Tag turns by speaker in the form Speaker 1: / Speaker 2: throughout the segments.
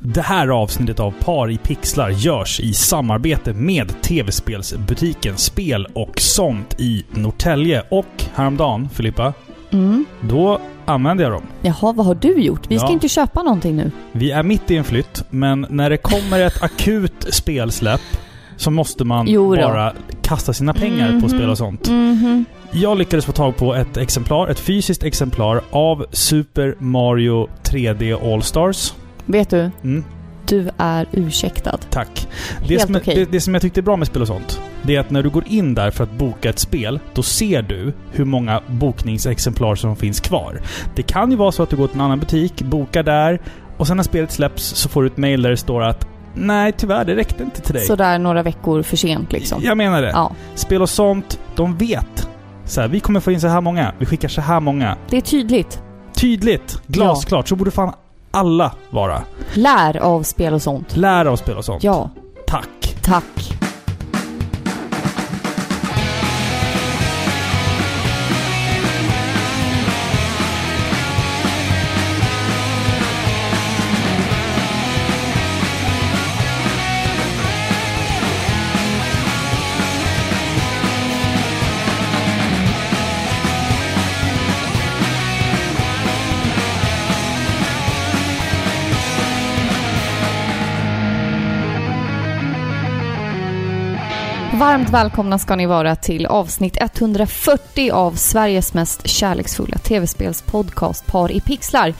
Speaker 1: Det här avsnittet av Par i pixlar görs i samarbete med tv-spelsbutiken Spel och sånt i Norrtälje. Och häromdagen, Filippa,
Speaker 2: Mm.
Speaker 1: då använde jag dem.
Speaker 2: Jaha, vad har du gjort? Vi ska
Speaker 1: Ja.
Speaker 2: inte köpa någonting nu.
Speaker 1: Vi är mitt i en flytt, men när det kommer ett akut spelsläpp så måste man
Speaker 2: Jo då.
Speaker 1: bara kasta sina pengar på
Speaker 2: Mhm.
Speaker 1: spel och sånt.
Speaker 2: Mm-hmm.
Speaker 1: Jag lyckades få tag på ett exemplar, ett fysiskt exemplar av Super Mario 3D All-Stars.
Speaker 2: Vet du,
Speaker 1: Mm,
Speaker 2: du är ursäktad.
Speaker 1: tack. Det
Speaker 2: Helt
Speaker 1: som,
Speaker 2: okej.
Speaker 1: det, det som jag tyckte är bra med spel och sånt, det är att när du går in där för att boka ett spel, då ser du hur många bokningsexemplar som finns kvar. Det kan ju vara så att du går till en annan butik, bokar där, och sen när spelet släpps så får du ett mail där det står att Nej, tyvärr, det räckte inte till dig.
Speaker 2: Sådär några veckor för sent liksom.
Speaker 1: Jag menar det.
Speaker 2: Ja.
Speaker 1: Spel och sånt, de vet. Så här, vi kommer få in så här många, vi skickar så här många.
Speaker 2: Det är tydligt.
Speaker 1: Tydligt, glasklart. Så borde fan alla vara.
Speaker 2: Lär av spel och sånt.
Speaker 1: Lär av spel och sånt.
Speaker 2: Ja,
Speaker 1: Tack.
Speaker 2: tack. Varmt välkomna ska ni vara till avsnitt 140 av Sveriges mest kärleksfulla tv-spelspodcast Par i pixlar.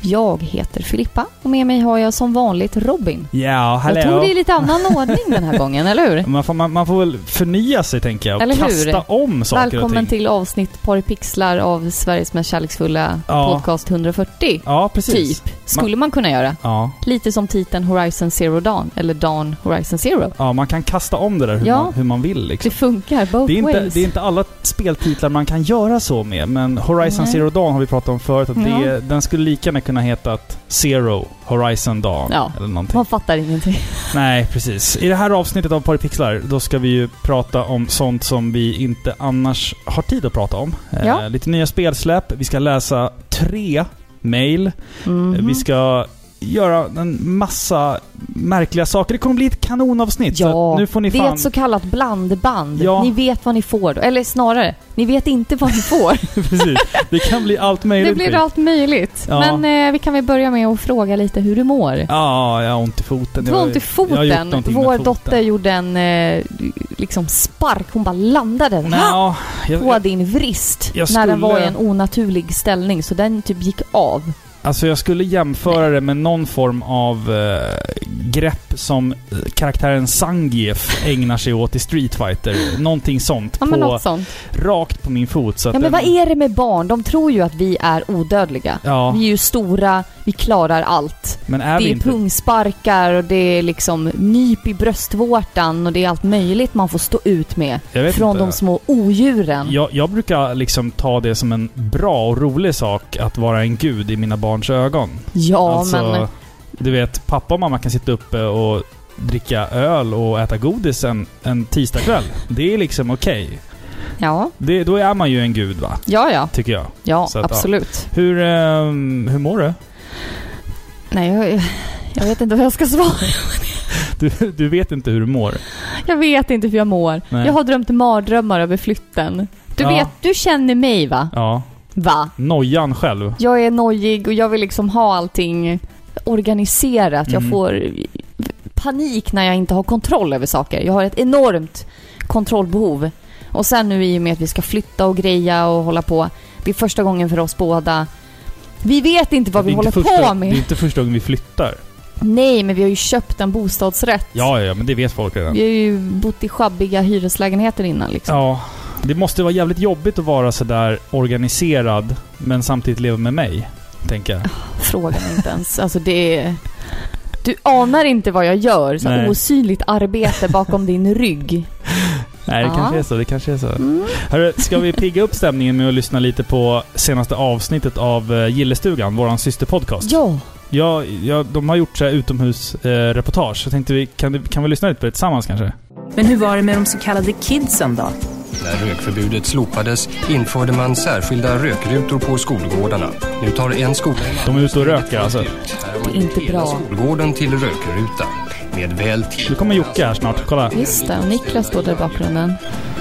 Speaker 2: Jag heter Filippa och med mig har jag som vanligt Robin.
Speaker 1: Ja, hallå.
Speaker 2: Jag tog det i lite annan ordning den här gången, eller hur?
Speaker 1: man, får, man, man får väl förnya sig, tänker jag. Och
Speaker 2: Eller hur?
Speaker 1: kasta om saker och
Speaker 2: Välkommen
Speaker 1: ting.
Speaker 2: till avsnitt Par i pixlar av Sveriges mest kärleksfulla
Speaker 1: Ja.
Speaker 2: podcast 140.
Speaker 1: Ja, precis.
Speaker 2: Typ, skulle man kunna göra.
Speaker 1: Ja.
Speaker 2: Lite som titeln Horizon Zero Dawn, eller Dawn Horizon Zero.
Speaker 1: ja, man kan kasta om det där hur,
Speaker 2: Ja.
Speaker 1: man, hur man vill.
Speaker 2: Det
Speaker 1: Liksom.
Speaker 2: funkar both
Speaker 1: Det är, inte,
Speaker 2: ways.
Speaker 1: det är inte alla speltitlar man kan göra så med, men Horizon
Speaker 2: Nej.
Speaker 1: Zero Dawn har vi pratat om förut. Att det,
Speaker 2: Ja.
Speaker 1: den skulle lika gärna kunna heta att Zero Horizon Dawn.
Speaker 2: Ja.
Speaker 1: Eller någonting.
Speaker 2: Man fattar ingenting.
Speaker 1: Nej, precis. I det här avsnittet av Paripixlar, då ska vi ju prata om sånt som vi inte annars har tid att prata om. Eh,
Speaker 2: Ja.
Speaker 1: lite nya spelsläpp, vi ska läsa tre mail,
Speaker 2: Mhm.
Speaker 1: Eh, vi ska göra en massa märkliga saker. Det kommer bli ett kanonavsnitt. så
Speaker 2: Ja,
Speaker 1: att nu får ni
Speaker 2: det är
Speaker 1: fan...
Speaker 2: ett så kallat blandband.
Speaker 1: Ja.
Speaker 2: Ni vet vad ni får då. Eller snarare, ni vet inte vad ni får.
Speaker 1: precis. Det kan bli allt möjligt.
Speaker 2: det blir allt möjligt.
Speaker 1: Ja.
Speaker 2: Men eh, vi kan väl börja med att fråga lite hur du mår.
Speaker 1: Ja, jag har ont i foten.
Speaker 2: Du har
Speaker 1: Jag-
Speaker 2: ont i
Speaker 1: jag har gjort
Speaker 2: foten.
Speaker 1: någonting med
Speaker 2: Vår
Speaker 1: foten.
Speaker 2: dotter gjorde en eh, liksom spark. Hon bara landade den. Ha!
Speaker 1: Nå, jag,
Speaker 2: på din vrist
Speaker 1: Jag
Speaker 2: när den
Speaker 1: skulle-
Speaker 2: var i en onaturlig ställning så den typ gick av.
Speaker 1: Alltså jag skulle jämföra det med någon form av eh, grepp som eh, karaktären Sangief ägnar sig åt i Street Fighter. Någonting sånt.
Speaker 2: Ja men
Speaker 1: på,
Speaker 2: något sånt.
Speaker 1: rakt på min fot. Så att
Speaker 2: Ja
Speaker 1: den-
Speaker 2: men vad är det med barn? De tror ju att vi är odödliga.
Speaker 1: Ja,
Speaker 2: Vi är ju stora, vi klarar allt.
Speaker 1: men är vi
Speaker 2: det är
Speaker 1: inte...
Speaker 2: pungsparkar och det är liksom nyp i bröstvårtan och det är allt möjligt man får stå ut med
Speaker 1: Jag vet
Speaker 2: från
Speaker 1: inte.
Speaker 2: de små odjuren.
Speaker 1: Jag, jag brukar liksom ta det som en bra och rolig sak att vara en gud i mina barns ögon.
Speaker 2: Ja,
Speaker 1: alltså,
Speaker 2: men
Speaker 1: Du vet, pappa och mamma kan sitta uppe och dricka öl och äta godis en, en tisdagkväll. Det är liksom okej.
Speaker 2: ja,
Speaker 1: Det- Då är man ju en gud va,
Speaker 2: ja, ja,
Speaker 1: tycker jag.
Speaker 2: ja,
Speaker 1: Så att, ja.
Speaker 2: absolut.
Speaker 1: Hur, ehm, hur mår du?
Speaker 2: Nej, jag, jag vet inte vad jag ska svara.
Speaker 1: du? Du vet inte hur du mår?
Speaker 2: Jag vet inte hur jag mår.
Speaker 1: Nej.
Speaker 2: Jag har drömt mardrömmar över flytten. Du
Speaker 1: Ja.
Speaker 2: vet, du känner mig va?
Speaker 1: Ja.
Speaker 2: Va?
Speaker 1: Nojan själv?
Speaker 2: Jag är nojig och jag vill liksom ha allting organiserat. Jag
Speaker 1: Mm.
Speaker 2: får panik när jag inte har kontroll över saker. Jag har ett enormt kontrollbehov. Och sen nu i och med att vi ska flytta och greja och hålla på. Det är första gången för oss båda. Vi vet inte vad
Speaker 1: Det är
Speaker 2: vi
Speaker 1: inte
Speaker 2: håller
Speaker 1: första,
Speaker 2: på med.
Speaker 1: Det är inte första gången vi flyttar.
Speaker 2: Nej, men vi har ju köpt en bostadsrätt.
Speaker 1: Ja, ja, men det vet folk redan.
Speaker 2: Vi har ju bott i schabbiga hyreslägenheter innan liksom.
Speaker 1: Ja. Det måste vara jävligt jobbigt att vara sådär organiserad, men samtidigt leva med mig. Tänker jag.
Speaker 2: Fråga mig inte ens. Alltså det är... Du anar inte vad jag gör. Så
Speaker 1: Nej.
Speaker 2: osynligt arbete bakom din rygg.
Speaker 1: Nej, det
Speaker 2: Ja.
Speaker 1: kanske är så. Det kanske är så.
Speaker 2: Mm.
Speaker 1: Hörru, ska vi pigga upp stämningen med att lyssna lite på senaste avsnittet av eh, Gillestugan, våran systerpodcast?
Speaker 2: Ja,
Speaker 1: Ja, ja, de har gjort så här utomhusreportage. Eh, reportage. så tänkte vi, kan, du- kan vi lyssna lite på det tillsammans kanske?
Speaker 3: Men hur var det med de så kallade kidsen då?
Speaker 4: När rökförbudet slopades införde man särskilda rökrutor på skolgårdarna. Nu tar en skola...
Speaker 1: De är ute och röker alltså.
Speaker 4: Här har
Speaker 2: Det
Speaker 4: man
Speaker 2: är inte
Speaker 4: gjort hela
Speaker 2: bra.
Speaker 4: skolgården till rökruta. Med väl till...
Speaker 1: Nu kommer Jocke här snart, kolla.
Speaker 2: Just det, och Niklas står där i bakgrunden.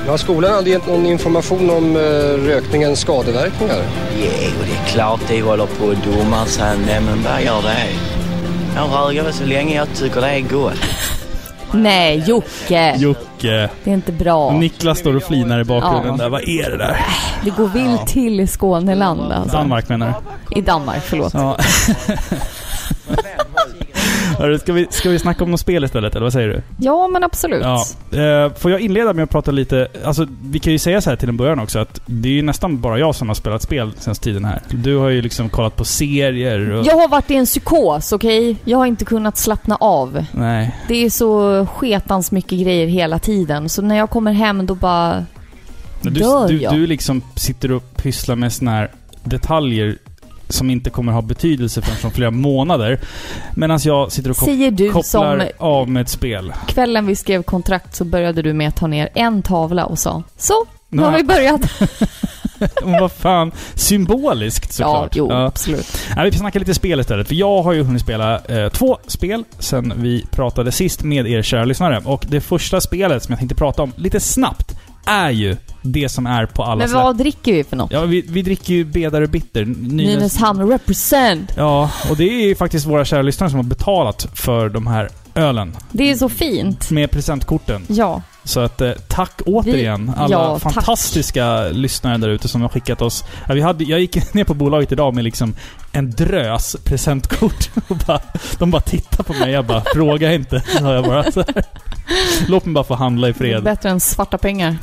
Speaker 5: Ja, skolan hade gett någon information om eh, rökningens skadeverkningar.
Speaker 6: Jo, det är klart de håller på och domar sig. Nej, men vad gör det? Jag röker väl så länge jag tycker det är gott.
Speaker 2: Nej, Jocke!
Speaker 1: Jocke.
Speaker 2: Det är inte bra.
Speaker 1: Niklas står och flinar i bakgrunden
Speaker 2: Ja.
Speaker 1: där. Vad är det där?
Speaker 2: Det går vilt till i Skåneland alltså.
Speaker 1: Danmark menar du?
Speaker 2: I Danmark, förlåt.
Speaker 1: Ja. Hörru, ska, vi, ska vi snacka om något spel istället, eller vad säger du?
Speaker 2: Ja, men absolut.
Speaker 1: Ja. Eh, får jag inleda med att prata lite... Alltså, vi kan ju säga så här till en början också att det är ju nästan bara jag som har spelat spel sen tiden här. Du har ju liksom kollat på serier och...
Speaker 2: Jag har varit i en psykos, okej? Jag har inte kunnat slappna av.
Speaker 1: Nej.
Speaker 2: Det är så sketans mycket grejer hela tiden. Så när jag kommer hem då bara...
Speaker 1: Men Du,
Speaker 2: Dör
Speaker 1: du,
Speaker 2: jag?
Speaker 1: du liksom sitter och pysslar med såna här detaljer som inte kommer ha betydelse förrän om flera månader. Medan jag sitter och kop-
Speaker 2: Säger du
Speaker 1: kopplar
Speaker 2: som
Speaker 1: av med ett spel.
Speaker 2: kvällen vi skrev kontrakt så började du med att ta ner en tavla och sa Så, nu har
Speaker 1: Nej.
Speaker 2: vi börjat.
Speaker 1: Men vad fan, symboliskt
Speaker 2: Ja,
Speaker 1: såklart.
Speaker 2: jo,
Speaker 1: Ja.
Speaker 2: absolut.
Speaker 1: Nej, vi får snacka lite spel istället, för jag har ju hunnit spela eh, två spel sen vi pratade sist med er kära lyssnare. Och det första spelet som jag tänkte prata om lite snabbt är ju det som är på alla
Speaker 2: Men vad dricker vi för något?
Speaker 1: Ja, vi, vi dricker ju Bedare Bitter. Nynäs-
Speaker 2: Nynäshamn represent.
Speaker 1: Ja, och det är ju faktiskt våra kära lyssnare som har betalat för de här ölen
Speaker 2: Det är så fint.
Speaker 1: med presentkorten.
Speaker 2: Ja,
Speaker 1: Så att eh, tack återigen alla
Speaker 2: ja, tack.
Speaker 1: fantastiska lyssnare där ute som har skickat oss. Ja, vi hade, jag gick ner på bolaget idag med liksom en drös presentkort. Och bara, de bara tittar på mig. Jag bara fråga inte. Så jag bara, så här. Låt mig bara få handla i fred.
Speaker 2: bättre än svarta pengar.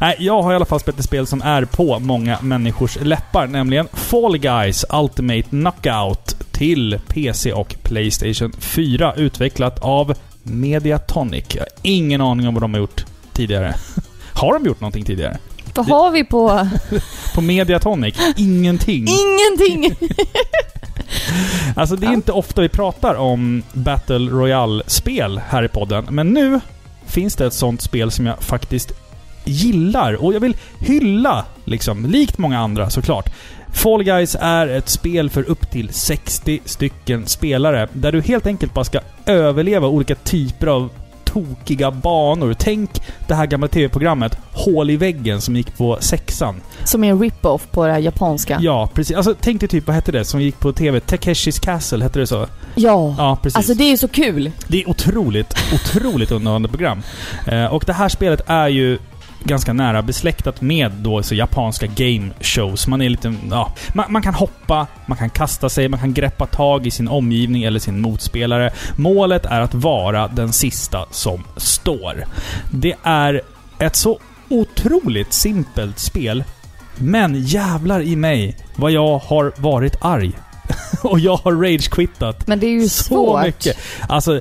Speaker 1: Nej, jag har i alla fall spelat ett spel som är på många människors läppar, nämligen Fall Guys Ultimate Knockout till PC och Playstation 4, utvecklat av Mediatonic. Jag har ingen aning om vad de har gjort tidigare. Har de gjort någonting tidigare?
Speaker 2: Vad
Speaker 1: Det- Mm.
Speaker 2: har vi på...
Speaker 1: På Mediatonic? Ingenting.
Speaker 2: Ingenting!
Speaker 1: Alltså det är
Speaker 2: Ja.
Speaker 1: inte ofta vi pratar om Battle Royale-spel här i podden, men nu finns det ett sånt spel som jag faktiskt gillar och jag vill hylla, liksom, likt många andra såklart. Fall Guys är ett spel för upp till 60 stycken spelare där du helt enkelt bara ska överleva olika typer av tokiga banor. Tänk det här gamla tv-programmet Hål i väggen som gick på sexan.
Speaker 2: Som är en rip-off på det här japanska. Ja,
Speaker 1: Ja, precis. Alltså tänk dig typ, vad hette det som gick på tv? Takeshis Castle, hette det så? Ja, precis.
Speaker 2: alltså det är ju så kul.
Speaker 1: Det är otroligt, otroligt underhållande program. Eh, och det här spelet är ju ganska nära besläktat med då så japanska game shows. Man är lite, ja, man, man kan hoppa, man kan kasta sig, man kan greppa tag i sin omgivning eller sin motspelare. Målet är att vara den sista som står. Det är ett så otroligt simpelt spel, men jävlar i mig vad jag har varit arg. och jag har ragequittat
Speaker 2: Men det är ju
Speaker 1: så
Speaker 2: svårt.
Speaker 1: mycket. Alltså,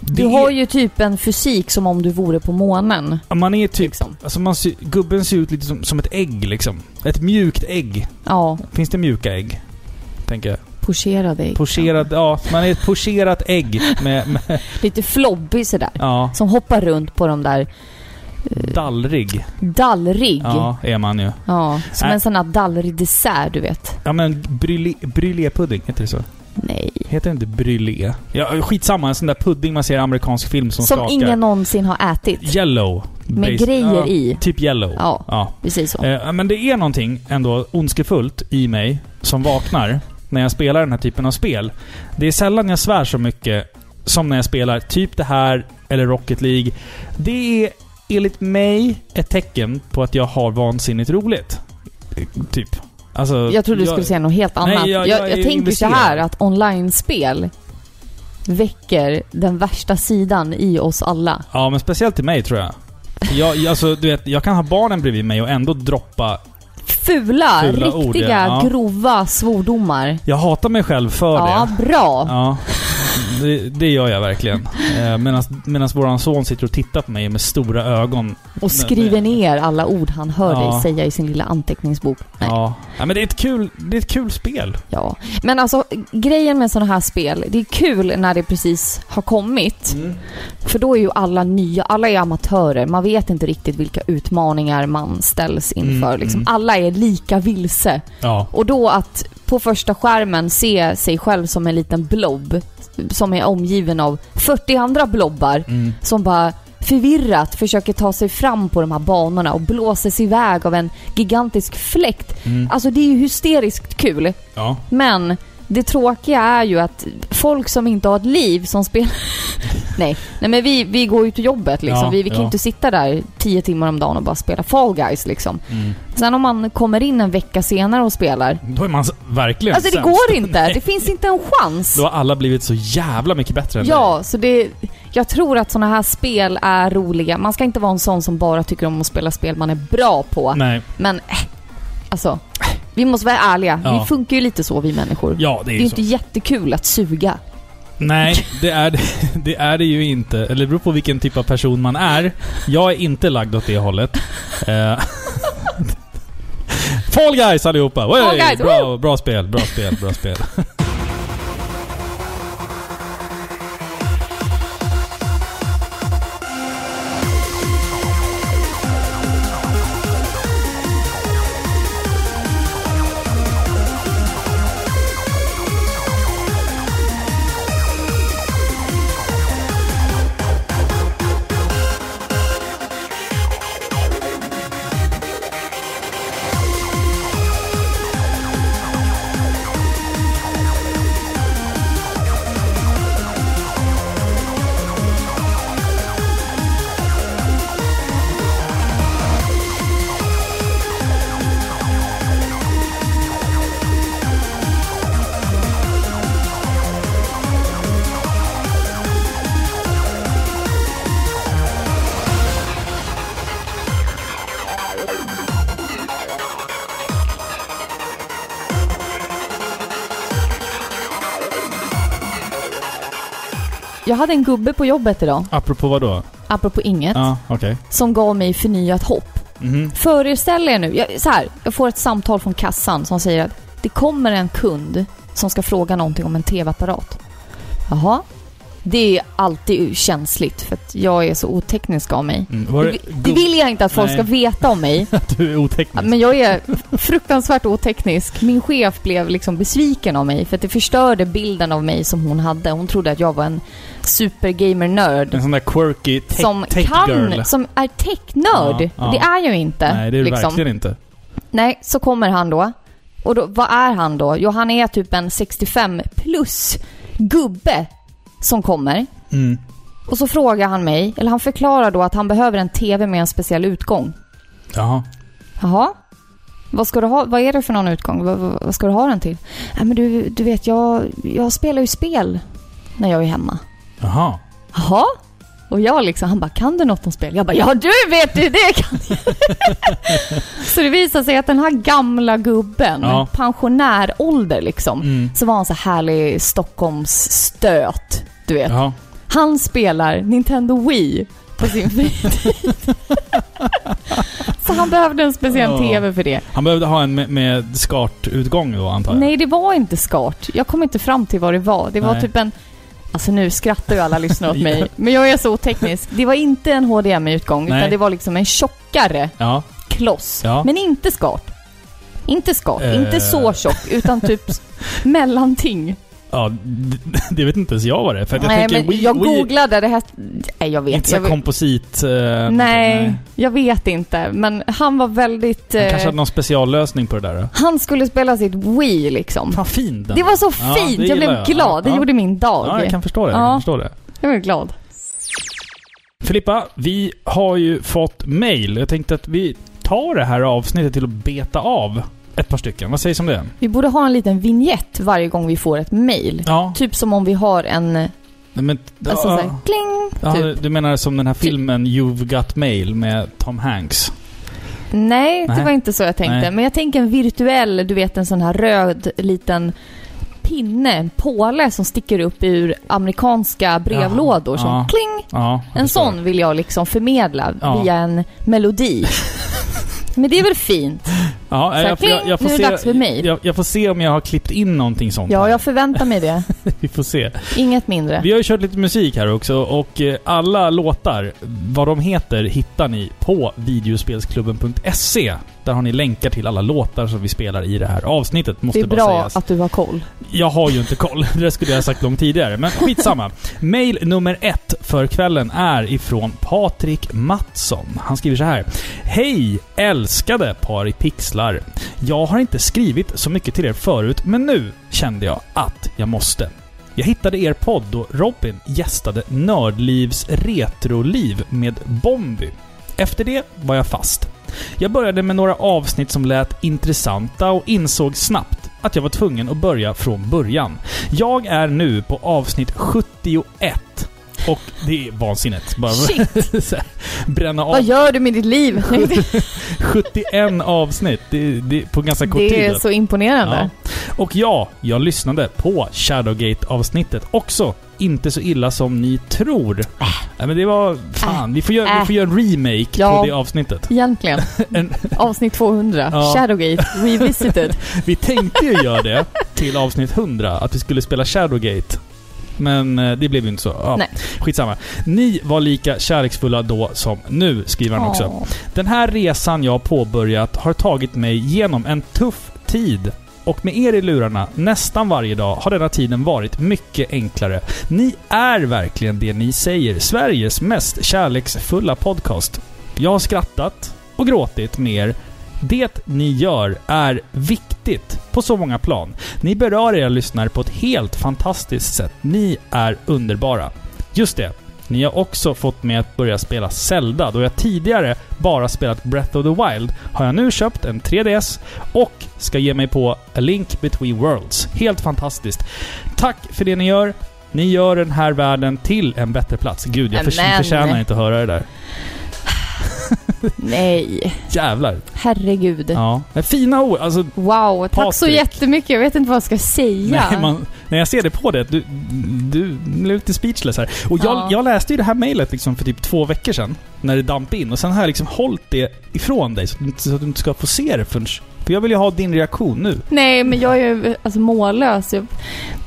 Speaker 1: det
Speaker 2: Du har
Speaker 1: är,
Speaker 2: ju typ en fysik som om du vore på månen.
Speaker 1: man är typ...
Speaker 2: Liksom.
Speaker 1: Alltså man ser, gubben ser ut lite som, som ett ägg liksom. Ett mjukt ägg.
Speaker 2: Ja,
Speaker 1: Finns det mjuka ägg? Tänker jag.
Speaker 2: pochera dig.
Speaker 1: Pocherad, ja. Man är ett pocherat ägg med, med
Speaker 2: Lite flobbig sådär.
Speaker 1: ja,
Speaker 2: Som hoppar runt på de där
Speaker 1: dallrig.
Speaker 2: dallrig. Ja.
Speaker 1: Ja, är man ju.
Speaker 2: som
Speaker 1: Äh.
Speaker 2: en sån här dallrig dessert, du vet.
Speaker 1: Ja men brylé- brulépudding, heter det så?
Speaker 2: Nej.
Speaker 1: Heter det inte brylé? Ja, skitsamma. En sån där pudding man ser i amerikansk film som,
Speaker 2: Som
Speaker 1: skakar.
Speaker 2: ingen någonsin har ätit.
Speaker 1: Yellow.
Speaker 2: Med
Speaker 1: Bas-
Speaker 2: grejer
Speaker 1: ja,
Speaker 2: i.
Speaker 1: Typ yellow.
Speaker 2: Ja.
Speaker 1: ja.
Speaker 2: Precis så.
Speaker 1: Eh, men det är någonting ändå ondskefullt i mig som vaknar när jag spelar den här typen av spel. Det är sällan jag svär så mycket som när jag spelar typ det här eller Rocket League. Det är enligt mig ett tecken på att jag har vansinnigt roligt. Eh, Typ. Alltså,
Speaker 2: Jag trodde du skulle säga något helt
Speaker 1: Nej, jag-
Speaker 2: annat. jag,
Speaker 1: jag
Speaker 2: jag,
Speaker 1: är
Speaker 2: tänker så
Speaker 1: investerad.
Speaker 2: här att online-spel väcker den värsta sidan i oss alla.
Speaker 1: Ja, men speciellt till mig tror jag. Jag, jag- alltså, du vet, jag kan ha barnen bredvid mig och ändå droppa...
Speaker 2: Fula,
Speaker 1: Fula
Speaker 2: riktiga,
Speaker 1: ord, ja. Ja.
Speaker 2: grova svordomar.
Speaker 1: Jag hatar mig själv för
Speaker 2: Ja,
Speaker 1: det.
Speaker 2: bra.
Speaker 1: Ja. det, det gör jag verkligen. Eh, Medan våran son sitter och tittar på mig med stora ögon.
Speaker 2: Och skriver ner alla ord han hör dig
Speaker 1: Ja.
Speaker 2: säga i sin lilla anteckningsbok. Nej.
Speaker 1: Ja. ja, men det är ett kul, det är ett kul spel.
Speaker 2: Ja, men alltså grejen med sådana här spel, det är kul när det precis har kommit.
Speaker 1: Mm.
Speaker 2: För då är ju alla nya, alla är amatörer. Man vet inte riktigt vilka utmaningar man ställs inför.
Speaker 1: Mm,
Speaker 2: Liksom.
Speaker 1: mm.
Speaker 2: Alla är lika vilse.
Speaker 1: Ja.
Speaker 2: Och då att på första skärmen se sig själv som en liten blob som är omgiven av 40 andra blobbar
Speaker 1: Mm.
Speaker 2: som bara förvirrat försöker ta sig fram på de här banorna och blåses iväg av en gigantisk fläkt.
Speaker 1: Mm.
Speaker 2: Alltså det är ju hysteriskt kul.
Speaker 1: Ja.
Speaker 2: Men det tråkiga är ju att folk som inte har ett liv som spelar... nej, nej men vi, vi går ju till jobbet liksom.
Speaker 1: Ja,
Speaker 2: vi, vi kan ju
Speaker 1: ja.
Speaker 2: inte sitta där 10 timmar om dagen och bara spela Fall Guys liksom.
Speaker 1: Mm.
Speaker 2: Sen om man kommer in en vecka senare och spelar.
Speaker 1: Då är man s- verkligen
Speaker 2: Alltså det
Speaker 1: sämst.
Speaker 2: går inte. Det
Speaker 1: Nej.
Speaker 2: finns inte en chans.
Speaker 1: Då har alla blivit så jävla mycket bättre än
Speaker 2: Ja, så det... Jag tror att sådana här spel är roliga. Man ska inte vara en sån som bara tycker om att spela spel man är bra på.
Speaker 1: dig. Nej.
Speaker 2: Men eh, alltså, vi måste vara ärliga.
Speaker 1: Ja.
Speaker 2: Vi funkar ju lite så vi människor.
Speaker 1: Ja, det är
Speaker 2: Det
Speaker 1: ju
Speaker 2: är ju
Speaker 1: så.
Speaker 2: inte jättekul att suga.
Speaker 1: Nej, det är det, det är det ju inte. Eller det beror på vilken typ av person man är. Jag är inte lagd åt det hållet. Eh, Fall Guys allihopa! Oj,
Speaker 2: Fall Guys,
Speaker 1: bra, bra spel, bra spel, bra spel.
Speaker 2: Jag hade en gubbe på jobbet idag,
Speaker 1: Apropå vad då?
Speaker 2: apropå inget,
Speaker 1: Ja, okej.
Speaker 2: som gav mig förnyat hopp.
Speaker 1: Mhm.
Speaker 2: Föreställ er nu, jag, så här, jag får ett samtal från kassan som säger att det kommer en kund som ska fråga någonting om en TV-apparat. Jaha. Det är alltid känsligt för att jag är så oteknisk av mig.
Speaker 1: Mm. Var det,
Speaker 2: Det- Det vill jag inte att folk
Speaker 1: Nej.
Speaker 2: ska veta om mig.
Speaker 1: att du är
Speaker 2: Ja,
Speaker 1: oteknisk?
Speaker 2: Men jag är fruktansvärt oteknisk. Min chef blev liksom besviken av mig för att det förstörde bilden av mig som hon hade. Hon trodde att jag var en supergamer-nörd.
Speaker 1: en sån där quirky tech,
Speaker 2: som
Speaker 1: tech
Speaker 2: kan,
Speaker 1: girl.
Speaker 2: som är technörd.
Speaker 1: Ja, ja.
Speaker 2: Det är jag ju inte.
Speaker 1: Nej, det är du
Speaker 2: liksom.
Speaker 1: verkligen inte.
Speaker 2: Nej, så kommer han då. Och då, vad är han då? Jo, han är typ en 65 plus gubbe som kommer.
Speaker 1: Mm.
Speaker 2: Och så frågar han mig, eller han förklarar då att han behöver en TV med en speciell utgång.
Speaker 1: Jaha.
Speaker 2: Jaha? Vad, ska du ha? vad är det för någon utgång? Vad, vad, vad ska du ha den till? Nej, men du, du vet, jag, jag spelar ju spel när jag är hemma.
Speaker 1: Jaha.
Speaker 2: Jaha? Och jag liksom, han bara, kan du något om spel? Jag bara, ja du vet ju det kan jag. Så det visar sig att den här gamla gubben,
Speaker 1: Ja. Mm.
Speaker 2: pensionärålder liksom, så var han så härlig Stockholmsstöt, du vet.
Speaker 1: Jaha.
Speaker 2: Han spelar Nintendo Wii på sin fritid. så han behövde en speciell
Speaker 1: Ja.
Speaker 2: TV för det.
Speaker 1: Han behövde ha en med, med skartutgång då, antar jag?
Speaker 2: Nej, det var inte skart. Jag kom inte fram till vad det var. Det var
Speaker 1: Nej.
Speaker 2: typ en... Alltså nu skrattar ju alla lyssnare åt mig, men jag är så oteknisk. Det var inte en HDMI-utgång, utan
Speaker 1: Nej.
Speaker 2: det var liksom en tjockare
Speaker 1: Ja.
Speaker 2: kloss.
Speaker 1: Ja.
Speaker 2: Men inte skart. Inte skart,
Speaker 1: Eh.
Speaker 2: inte så tjock, utan typ mellanting.
Speaker 1: Ja, det, det vet inte ens jag vad det är. För att jag
Speaker 2: Nej,
Speaker 1: tänker,
Speaker 2: men
Speaker 1: Wii-
Speaker 2: jag
Speaker 1: Wii-
Speaker 2: googlade det här... Nej, jag vet.
Speaker 1: Inte så
Speaker 2: Jag
Speaker 1: här
Speaker 2: vet.
Speaker 1: komposit... eh,
Speaker 2: Nej, jag vet inte. Men han var väldigt...
Speaker 1: Han
Speaker 2: eh,
Speaker 1: kanske hade någon speciallösning på det där då?
Speaker 2: Han skulle spela sitt Wii liksom.
Speaker 1: Fan fin den
Speaker 2: Det var så
Speaker 1: Ja,
Speaker 2: fint,
Speaker 1: det
Speaker 2: jag blev
Speaker 1: gillar jag.
Speaker 2: glad. Det
Speaker 1: Ja.
Speaker 2: gjorde min dag.
Speaker 1: Ja, jag kan förstå det. Jag
Speaker 2: Ja.
Speaker 1: kan förstå det.
Speaker 2: jag blev glad.
Speaker 1: Filippa, vi har ju fått mail. Jag tänkte att vi tar det här avsnittet till att beta av ett par stycken. Vad sägs om det?
Speaker 2: Vi borde ha en liten vignett varje gång vi får ett mejl.
Speaker 1: Ja.
Speaker 2: Typ som om vi har en...
Speaker 1: Men,
Speaker 2: Alltså
Speaker 1: ja.
Speaker 2: såhär, kling!
Speaker 1: Ja,
Speaker 2: typ.
Speaker 1: Du menar som den här filmen You've Got Mail med Tom Hanks?
Speaker 2: Nej, det
Speaker 1: Nej.
Speaker 2: var inte så jag tänkte.
Speaker 1: Nej.
Speaker 2: Men jag tänker en virtuell, du vet en sån här röd liten pinne, en påle som sticker upp ur amerikanska brevlådor som
Speaker 1: Ja.
Speaker 2: kling.
Speaker 1: Ja, jag
Speaker 2: En
Speaker 1: förstår.
Speaker 2: sån vill jag liksom förmedla
Speaker 1: Ja.
Speaker 2: via en melodi. Men det är väl fint?
Speaker 1: Ja,
Speaker 2: här,
Speaker 1: jag, jag, jag får
Speaker 2: "Pling, nu
Speaker 1: se,
Speaker 2: är det dags för mig."
Speaker 1: Jag, jag får se om jag har klippt in någonting sånt.
Speaker 2: Ja,
Speaker 1: här.
Speaker 2: jag förväntar mig det.
Speaker 1: Vi får se.
Speaker 2: Inget mindre.
Speaker 1: Vi har ju kört lite musik här också och eh, alla låtar, vad de heter, hittar ni på videospelsklubben.se. Där har ni länkar till alla låtar som vi spelar i det här avsnittet, måste
Speaker 2: Det är
Speaker 1: bara
Speaker 2: bra
Speaker 1: sägas.
Speaker 2: att du har koll.
Speaker 1: Jag har ju inte koll. Det där skulle jag ha sagt långt tidigare, men skitsamma. Mail nummer ett för kvällen är ifrån Patrik Mattsson. Han skriver så här. Hej älskade par i pixlar. Jag har inte skrivit så mycket till er förut, men nu kände jag att jag måste. Jag hittade er podd då Robin gästade Nördlivs Retroliv med Bomby. Efter det var jag fast. Jag började med några avsnitt som lät intressanta och insåg snabbt att jag var tvungen att börja från början. Jag är nu på avsnitt 71 och det är vansinnigt. Bara så här, bränna
Speaker 2: Vad
Speaker 1: av
Speaker 2: gör du med ditt liv?
Speaker 1: 71 avsnitt det, det, på ganska kort
Speaker 2: Det
Speaker 1: tid. alltså.
Speaker 2: är så imponerande.
Speaker 1: Ja. Och ja, jag lyssnade på Shadowgate-avsnittet också. Inte så illa som ni tror. Nej, men det var... Fan, vi får göra, vi
Speaker 2: Äh.
Speaker 1: får göra en remake
Speaker 2: Ja.
Speaker 1: på det avsnittet.
Speaker 2: Egentligen.
Speaker 1: En-
Speaker 2: Avsnitt 200.
Speaker 1: Ja.
Speaker 2: Shadowgate. Revisited.
Speaker 1: Vi tänkte ju göra det till avsnitt 100, att vi skulle spela Shadowgate. Men eh, det blev ju inte så. Ja,
Speaker 2: Nej.
Speaker 1: skitsamma. Ni var lika kärleksfulla då som nu, skriver han också.
Speaker 2: Åh.
Speaker 1: Den här resan jag påbörjat har tagit mig genom en tuff tid. Och med er i lurarna nästan varje dag har denna tiden varit mycket enklare. Ni är verkligen det ni säger. Sveriges mest kärleksfulla podcast. Jag har skrattat och gråtit med er. Det ni gör är viktigt på så många plan. Ni berör era lyssnare på ett helt fantastiskt sätt. Ni är underbara. Just det. Ni har också fått mig att börja spela Zelda. Då jag tidigare bara spelat Breath of the Wild har jag nu köpt en 3DS och ska ge mig på A Link Between Worlds. Helt fantastiskt. Tack för det ni gör. Ni gör den här världen till en bättre plats. Gud, jag förs-
Speaker 2: Amen.
Speaker 1: förtjänar inte att höra det där.
Speaker 2: Nej.
Speaker 1: Jävlar.
Speaker 2: Herregud.
Speaker 1: Ja. Fina ord. Alltså,
Speaker 2: Wow. Tack så
Speaker 1: Patrik.
Speaker 2: jättemycket. Jag vet inte vad jag ska säga.
Speaker 1: Nej, man, när jag ser det på det, du, du blev lite speechless här. Och jag,
Speaker 2: Ja.
Speaker 1: jag läste ju det här mejlet liksom för typ två veckor sedan, när det damp in. Och sen har jag liksom hållit det ifrån dig, så att, du inte- så att du inte ska få se det förrän... För jag vill ju ha din reaktion nu.
Speaker 2: Nej, men jag är ju alltså, mållös. Jag...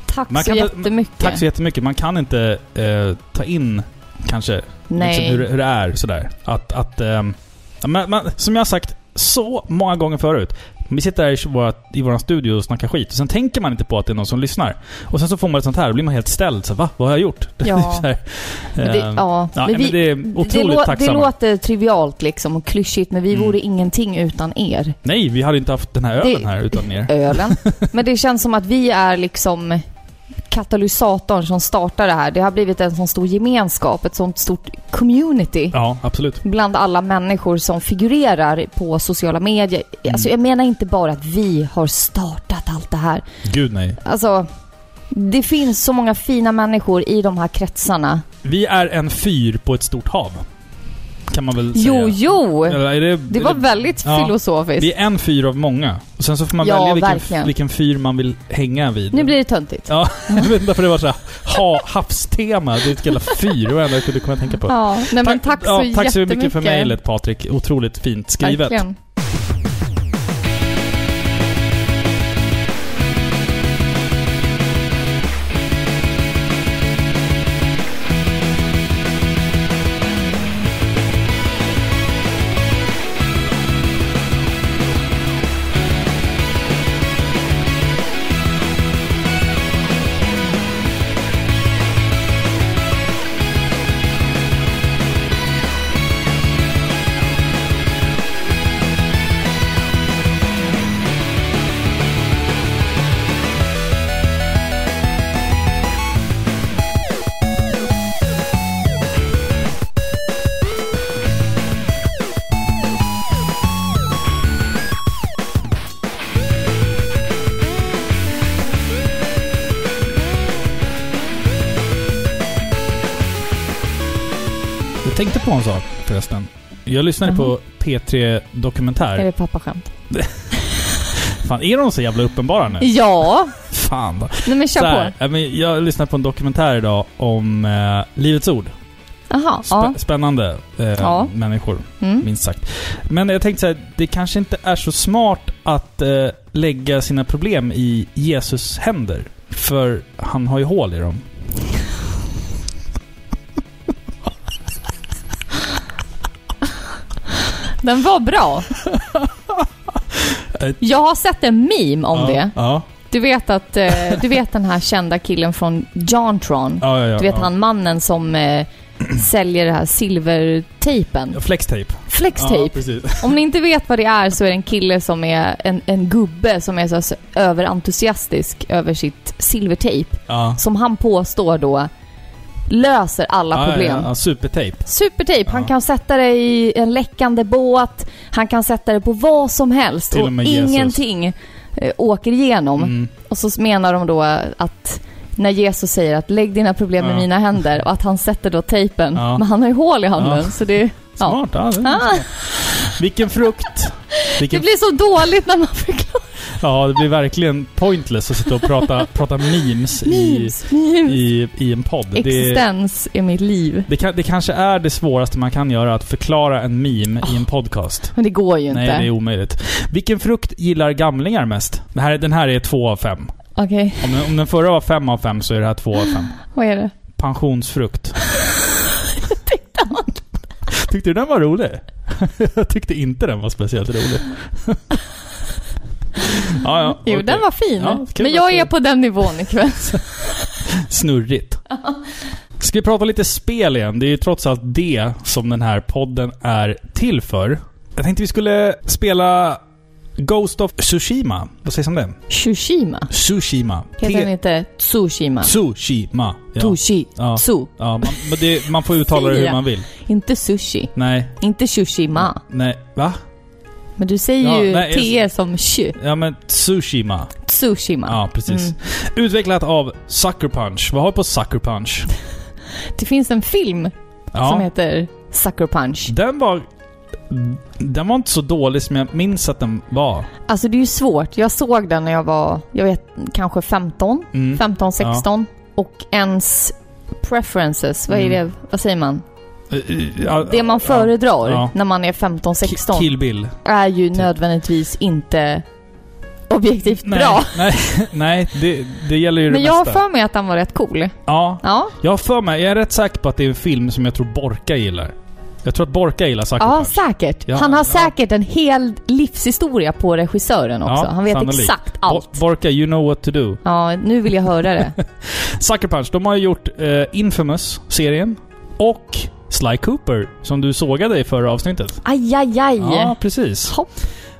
Speaker 2: Tack
Speaker 1: Man
Speaker 2: så
Speaker 1: kan ta-
Speaker 2: jättemycket.
Speaker 1: Tack så jättemycket. Man kan inte eh, ta in kanske liksom
Speaker 2: Nej.
Speaker 1: hur, hur det är sådär. Att... att ehm, ja, man, man, som jag har sagt så många gånger förut. Vi sitter här i vår, i vår studio och snackar skit. Och sen tänker man inte på att det är någon som lyssnar. Och sen så får man ett sånt här och blir man helt ställd. Så, här, Va? Vad har jag gjort?
Speaker 2: Ja.
Speaker 1: Så här,
Speaker 2: Men det,
Speaker 1: ehm,
Speaker 2: ja,
Speaker 1: Ja,
Speaker 2: men
Speaker 1: men
Speaker 2: vi,
Speaker 1: det är
Speaker 2: det,
Speaker 1: otroligt
Speaker 2: lå- det
Speaker 1: tacksamma.
Speaker 2: låter trivialt liksom och klyschigt, men vi
Speaker 1: Mm.
Speaker 2: vore ingenting utan er.
Speaker 1: Nej, vi hade inte haft den här
Speaker 2: Det-
Speaker 1: ölen här utan er.
Speaker 2: Ölen. men det känns som att vi är liksom katalysatorn som startar det här. Det har blivit en sån stor gemenskap, ett sånt stort community.
Speaker 1: Ja, absolut.
Speaker 2: Bland alla människor som figurerar på sociala medier. Alltså jag menar inte bara att vi har startat allt det här.
Speaker 1: Gud nej.
Speaker 2: Alltså, det finns så många fina människor i de här kretsarna.
Speaker 1: Vi är en fyr på ett stort hav. Kan man väl
Speaker 2: Jo,
Speaker 1: säga.
Speaker 2: jo!
Speaker 1: Eller är det,
Speaker 2: Det var väldigt
Speaker 1: Ja.
Speaker 2: filosofiskt.
Speaker 1: Vi är en fyr av många. Och sen så får man
Speaker 2: Ja,
Speaker 1: välja vilken,
Speaker 2: verkligen.
Speaker 1: vilken fyr man vill hänga vid.
Speaker 2: Nu blir det töntigt.
Speaker 1: Ja, jag vet inte varför det var såhär ha, havstema. Det är ett jävla fyr. Det var det enda jag kunde komma att tänka på.
Speaker 2: Ja, nej, men tack, så
Speaker 1: ja, tack så mycket
Speaker 2: jättemycket.
Speaker 1: för mejlet Patrik. Otroligt fint skrivet.
Speaker 2: Verkligen.
Speaker 1: Jag tänkte på en sak förresten. Jag lyssnade på
Speaker 2: Mm.
Speaker 1: P3 Dokumentär.
Speaker 2: Är det pappaskämt?
Speaker 1: Fan, är de så jävla uppenbara nu?
Speaker 2: Ja,
Speaker 1: fan då.
Speaker 2: Nej men kör
Speaker 1: Så här,
Speaker 2: på.
Speaker 1: ja, men jag lyssnade på en dokumentär idag om eh, Livets Ord.
Speaker 2: Jaha,
Speaker 1: Spä-
Speaker 2: ja.
Speaker 1: Spännande eh,
Speaker 2: Ja.
Speaker 1: människor,
Speaker 2: Mm.
Speaker 1: minst sagt. Men jag tänkte så här, det kanske inte är så smart att eh, lägga sina problem i Jesus händer. För han har ju hål i dem.
Speaker 2: Den var bra. Jag har sett en meme om
Speaker 1: ja,
Speaker 2: det.
Speaker 1: Ja,
Speaker 2: Du vet att, eh, du vet den här kända killen från Jontron?
Speaker 1: ja, ja, ja
Speaker 2: Du vet
Speaker 1: ja.
Speaker 2: han mannen som eh, säljer det här silvertejpen?
Speaker 1: Ja, Flextape. Ja,
Speaker 2: Flextejp.
Speaker 1: precis.
Speaker 2: Om ni inte vet vad det är så är det en kille som är en, en gubbe som är så så överentusiastisk över sitt silvertejp.
Speaker 1: Ja.
Speaker 2: Som han påstår då löser alla
Speaker 1: Ja,
Speaker 2: problem.
Speaker 1: Ja, ja, supertape.
Speaker 2: Supertejp. Han
Speaker 1: Ja.
Speaker 2: kan sätta det i en läckande båt. Han kan sätta det på vad som helst.
Speaker 1: Till
Speaker 2: Och,
Speaker 1: och med Jesus.
Speaker 2: ingenting eh, åker igenom.
Speaker 1: Mm.
Speaker 2: Och så menar de då att när Jesus säger att lägg dina problem i
Speaker 1: Ja.
Speaker 2: mina händer och att han sätter då tejpen.
Speaker 1: Ja.
Speaker 2: Men han har ju hål i handen
Speaker 1: Ja.
Speaker 2: så det, Ja.
Speaker 1: Smart. Ja. det är
Speaker 2: ah,
Speaker 1: Vilken frukt.
Speaker 2: det
Speaker 1: Vilken,
Speaker 2: blir så dåligt när man förklarar.
Speaker 1: Ja, det blir verkligen pointless att sitta och prata, prata memes,
Speaker 2: Memes,
Speaker 1: I,
Speaker 2: memes.
Speaker 1: i, i en podd. Det,
Speaker 2: Existens är mitt liv.
Speaker 1: det, kan, det kanske är det svåraste man kan göra, att förklara en meme i en podcast.
Speaker 2: Men det går ju
Speaker 1: Nej,
Speaker 2: inte.
Speaker 1: det är omöjligt. Vilken frukt gillar gamlingar mest? Det här, den här är två av fem.
Speaker 2: Okej,
Speaker 1: Om, den- om den förra var fem av fem så är det här två av fem.
Speaker 2: vad är det?
Speaker 1: Pensionsfrukt. Tyckte du den var rolig? Jag tyckte inte den var speciellt rolig. ja, ja,
Speaker 2: Jo,
Speaker 1: okej.
Speaker 2: den var fin.
Speaker 1: Ja, kul
Speaker 2: Men jag
Speaker 1: att-
Speaker 2: är på den nivån ikväll.
Speaker 1: Snurrigt. Ska vi prata lite spel igen? Det är ju trots allt det som den här podden är till för. Jag tänkte vi skulle spela Ghost of Tsushima. Vad sägs om den?
Speaker 2: Tsushima.
Speaker 1: Tsushima.
Speaker 2: Heter den
Speaker 1: T-
Speaker 2: inte Tsushima?
Speaker 1: Tsushima. Ja.
Speaker 2: Tushi.
Speaker 1: Ja.
Speaker 2: Tsu.
Speaker 1: Ja, man, men det, man får uttala det hur man vill.
Speaker 2: Inte sushi.
Speaker 1: Nej,
Speaker 2: Inte Tsushima.
Speaker 1: nej, va?
Speaker 2: Men du säger
Speaker 1: Ja,
Speaker 2: ju
Speaker 1: nej,
Speaker 2: te som shu.
Speaker 1: Ja men Tsushima.
Speaker 2: Tsushima.
Speaker 1: Ja, precis.
Speaker 2: Mm.
Speaker 1: Utvecklat av Sucker Punch. Vad har vi på Sucker Punch?
Speaker 2: Det finns en film
Speaker 1: Ja.
Speaker 2: som heter Sucker Punch.
Speaker 1: Den var... Den var inte så dålig som jag minns att den var.
Speaker 2: Alltså det är ju svårt. Jag såg den när jag var, jag vet, kanske 15.
Speaker 1: Mm.
Speaker 2: 15, 16. Och ens preferences, vad är
Speaker 1: Mm.
Speaker 2: det, vad säger man?
Speaker 1: Eh, Ja,
Speaker 2: Det man föredrar
Speaker 1: Ja.
Speaker 2: när man är 15,
Speaker 1: Ki-
Speaker 2: 16
Speaker 1: Kill typ. Bill.
Speaker 2: är ju nödvändigtvis inte objektivt
Speaker 1: Nej,
Speaker 2: bra.
Speaker 1: Nej, nej det, det gäller ju det
Speaker 2: Men jag har
Speaker 1: mesta.
Speaker 2: för mig att han var rätt cool.
Speaker 1: Ja,
Speaker 2: Ja,
Speaker 1: jag har för mig. Jag är rätt säker på att det är en film som jag tror Borka gillar. Jag tror att Borka gillar Sucker
Speaker 2: ja
Speaker 1: Punch.
Speaker 2: säkert.
Speaker 1: Ja,
Speaker 2: han har
Speaker 1: ja.
Speaker 2: säkert en hel livshistoria på regissören också.
Speaker 1: Ja,
Speaker 2: han vet
Speaker 1: sannolikt.
Speaker 2: exakt allt.
Speaker 1: Bo- Borka, you know what to do.
Speaker 2: Ja, nu vill jag höra det.
Speaker 1: Sucker Punch, de har ju gjort eh, Infamous-serien och Sly Cooper, som du sågade i förra avsnittet.
Speaker 2: Aj, aj, aj.
Speaker 1: Ja, precis.
Speaker 2: Hopp.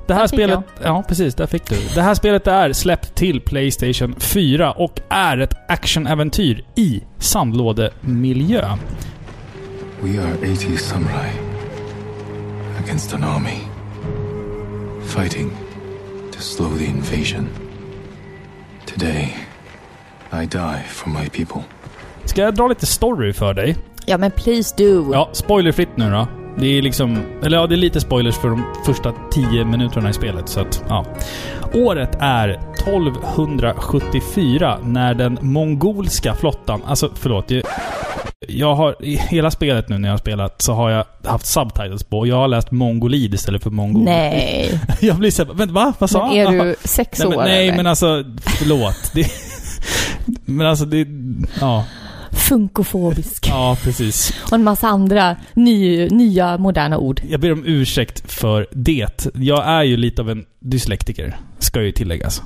Speaker 1: Det här
Speaker 2: Där fick
Speaker 1: spelet... Ja, precis. Där fick du. Det här spelet är släppt till Playstation 4 och är ett actionäventyr i sandlådemiljö.
Speaker 7: We are 80 samurai against an army, fighting to slow the invasion. Today, I die for my people.
Speaker 1: Ska jag dra lite story för dig?
Speaker 2: Ja, men please do.
Speaker 1: Ja, spoilerfritt nu då. Det är liksom... Eller ja, det är lite spoilers för de första 10 minuterna i spelet, så att, ja. Året är 1274 när den mongolska flottan... Alltså, förlåt. Jag, jag har... I hela spelet nu när jag har spelat så har jag haft subtitles på. Jag har läst mongolid istället för mongol.
Speaker 2: Nej.
Speaker 1: Jag blir såhär, vänta va? Vad sa
Speaker 2: Men
Speaker 1: han?
Speaker 2: är du sex
Speaker 1: Nej,
Speaker 2: år
Speaker 1: men, nej
Speaker 2: eller?
Speaker 1: men alltså, förlåt. Det, men alltså det... Ja,
Speaker 2: Funkofobisk.
Speaker 1: ja precis.
Speaker 2: Och en massa andra ny, nya moderna ord.
Speaker 1: Jag ber om ursäkt för det. Jag är ju lite av en dyslektiker, ska ju tilläggas.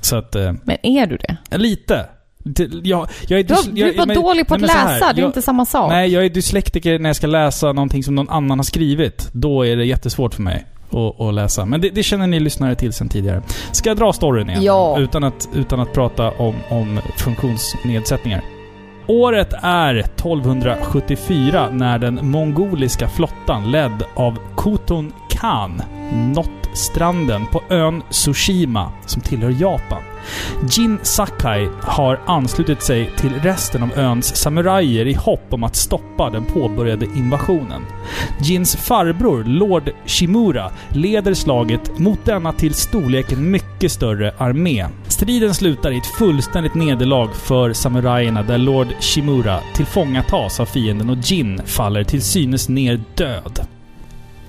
Speaker 1: Så att, eh,
Speaker 2: Men är du det? lite.
Speaker 1: det- jag, jag är
Speaker 2: Du, har-
Speaker 1: dys-
Speaker 2: du
Speaker 1: jag-
Speaker 2: var
Speaker 1: men-
Speaker 2: dålig på att
Speaker 1: nej, men så
Speaker 2: läsa,
Speaker 1: här,
Speaker 2: det är
Speaker 1: jag-
Speaker 2: inte samma sak.
Speaker 1: Nej, jag är dyslektiker när jag ska läsa någonting som någon annan har skrivit. Då är det jättesvårt för mig att, att läsa. Men det, det känner ni lyssnare till sen tidigare. Ska jag dra storyn igen?
Speaker 2: Ja.
Speaker 1: Utan att, utan att prata om, om funktionsnedsättningar. Året är 1274 när den mongoliska flottan ledd av Khotun Khan nått stranden på ön Tsushima som tillhör Japan. Jin Sakai har anslutit sig till resten av öns samurajer i hopp om att stoppa den påbörjade invasionen. Jins farbror, Lord Shimura, leder slaget mot denna till storleken mycket större armé. Striden slutar i ett fullständigt nederlag för samurajerna där Lord Shimura tillfångatas av fienden och Jin faller till synes ner död.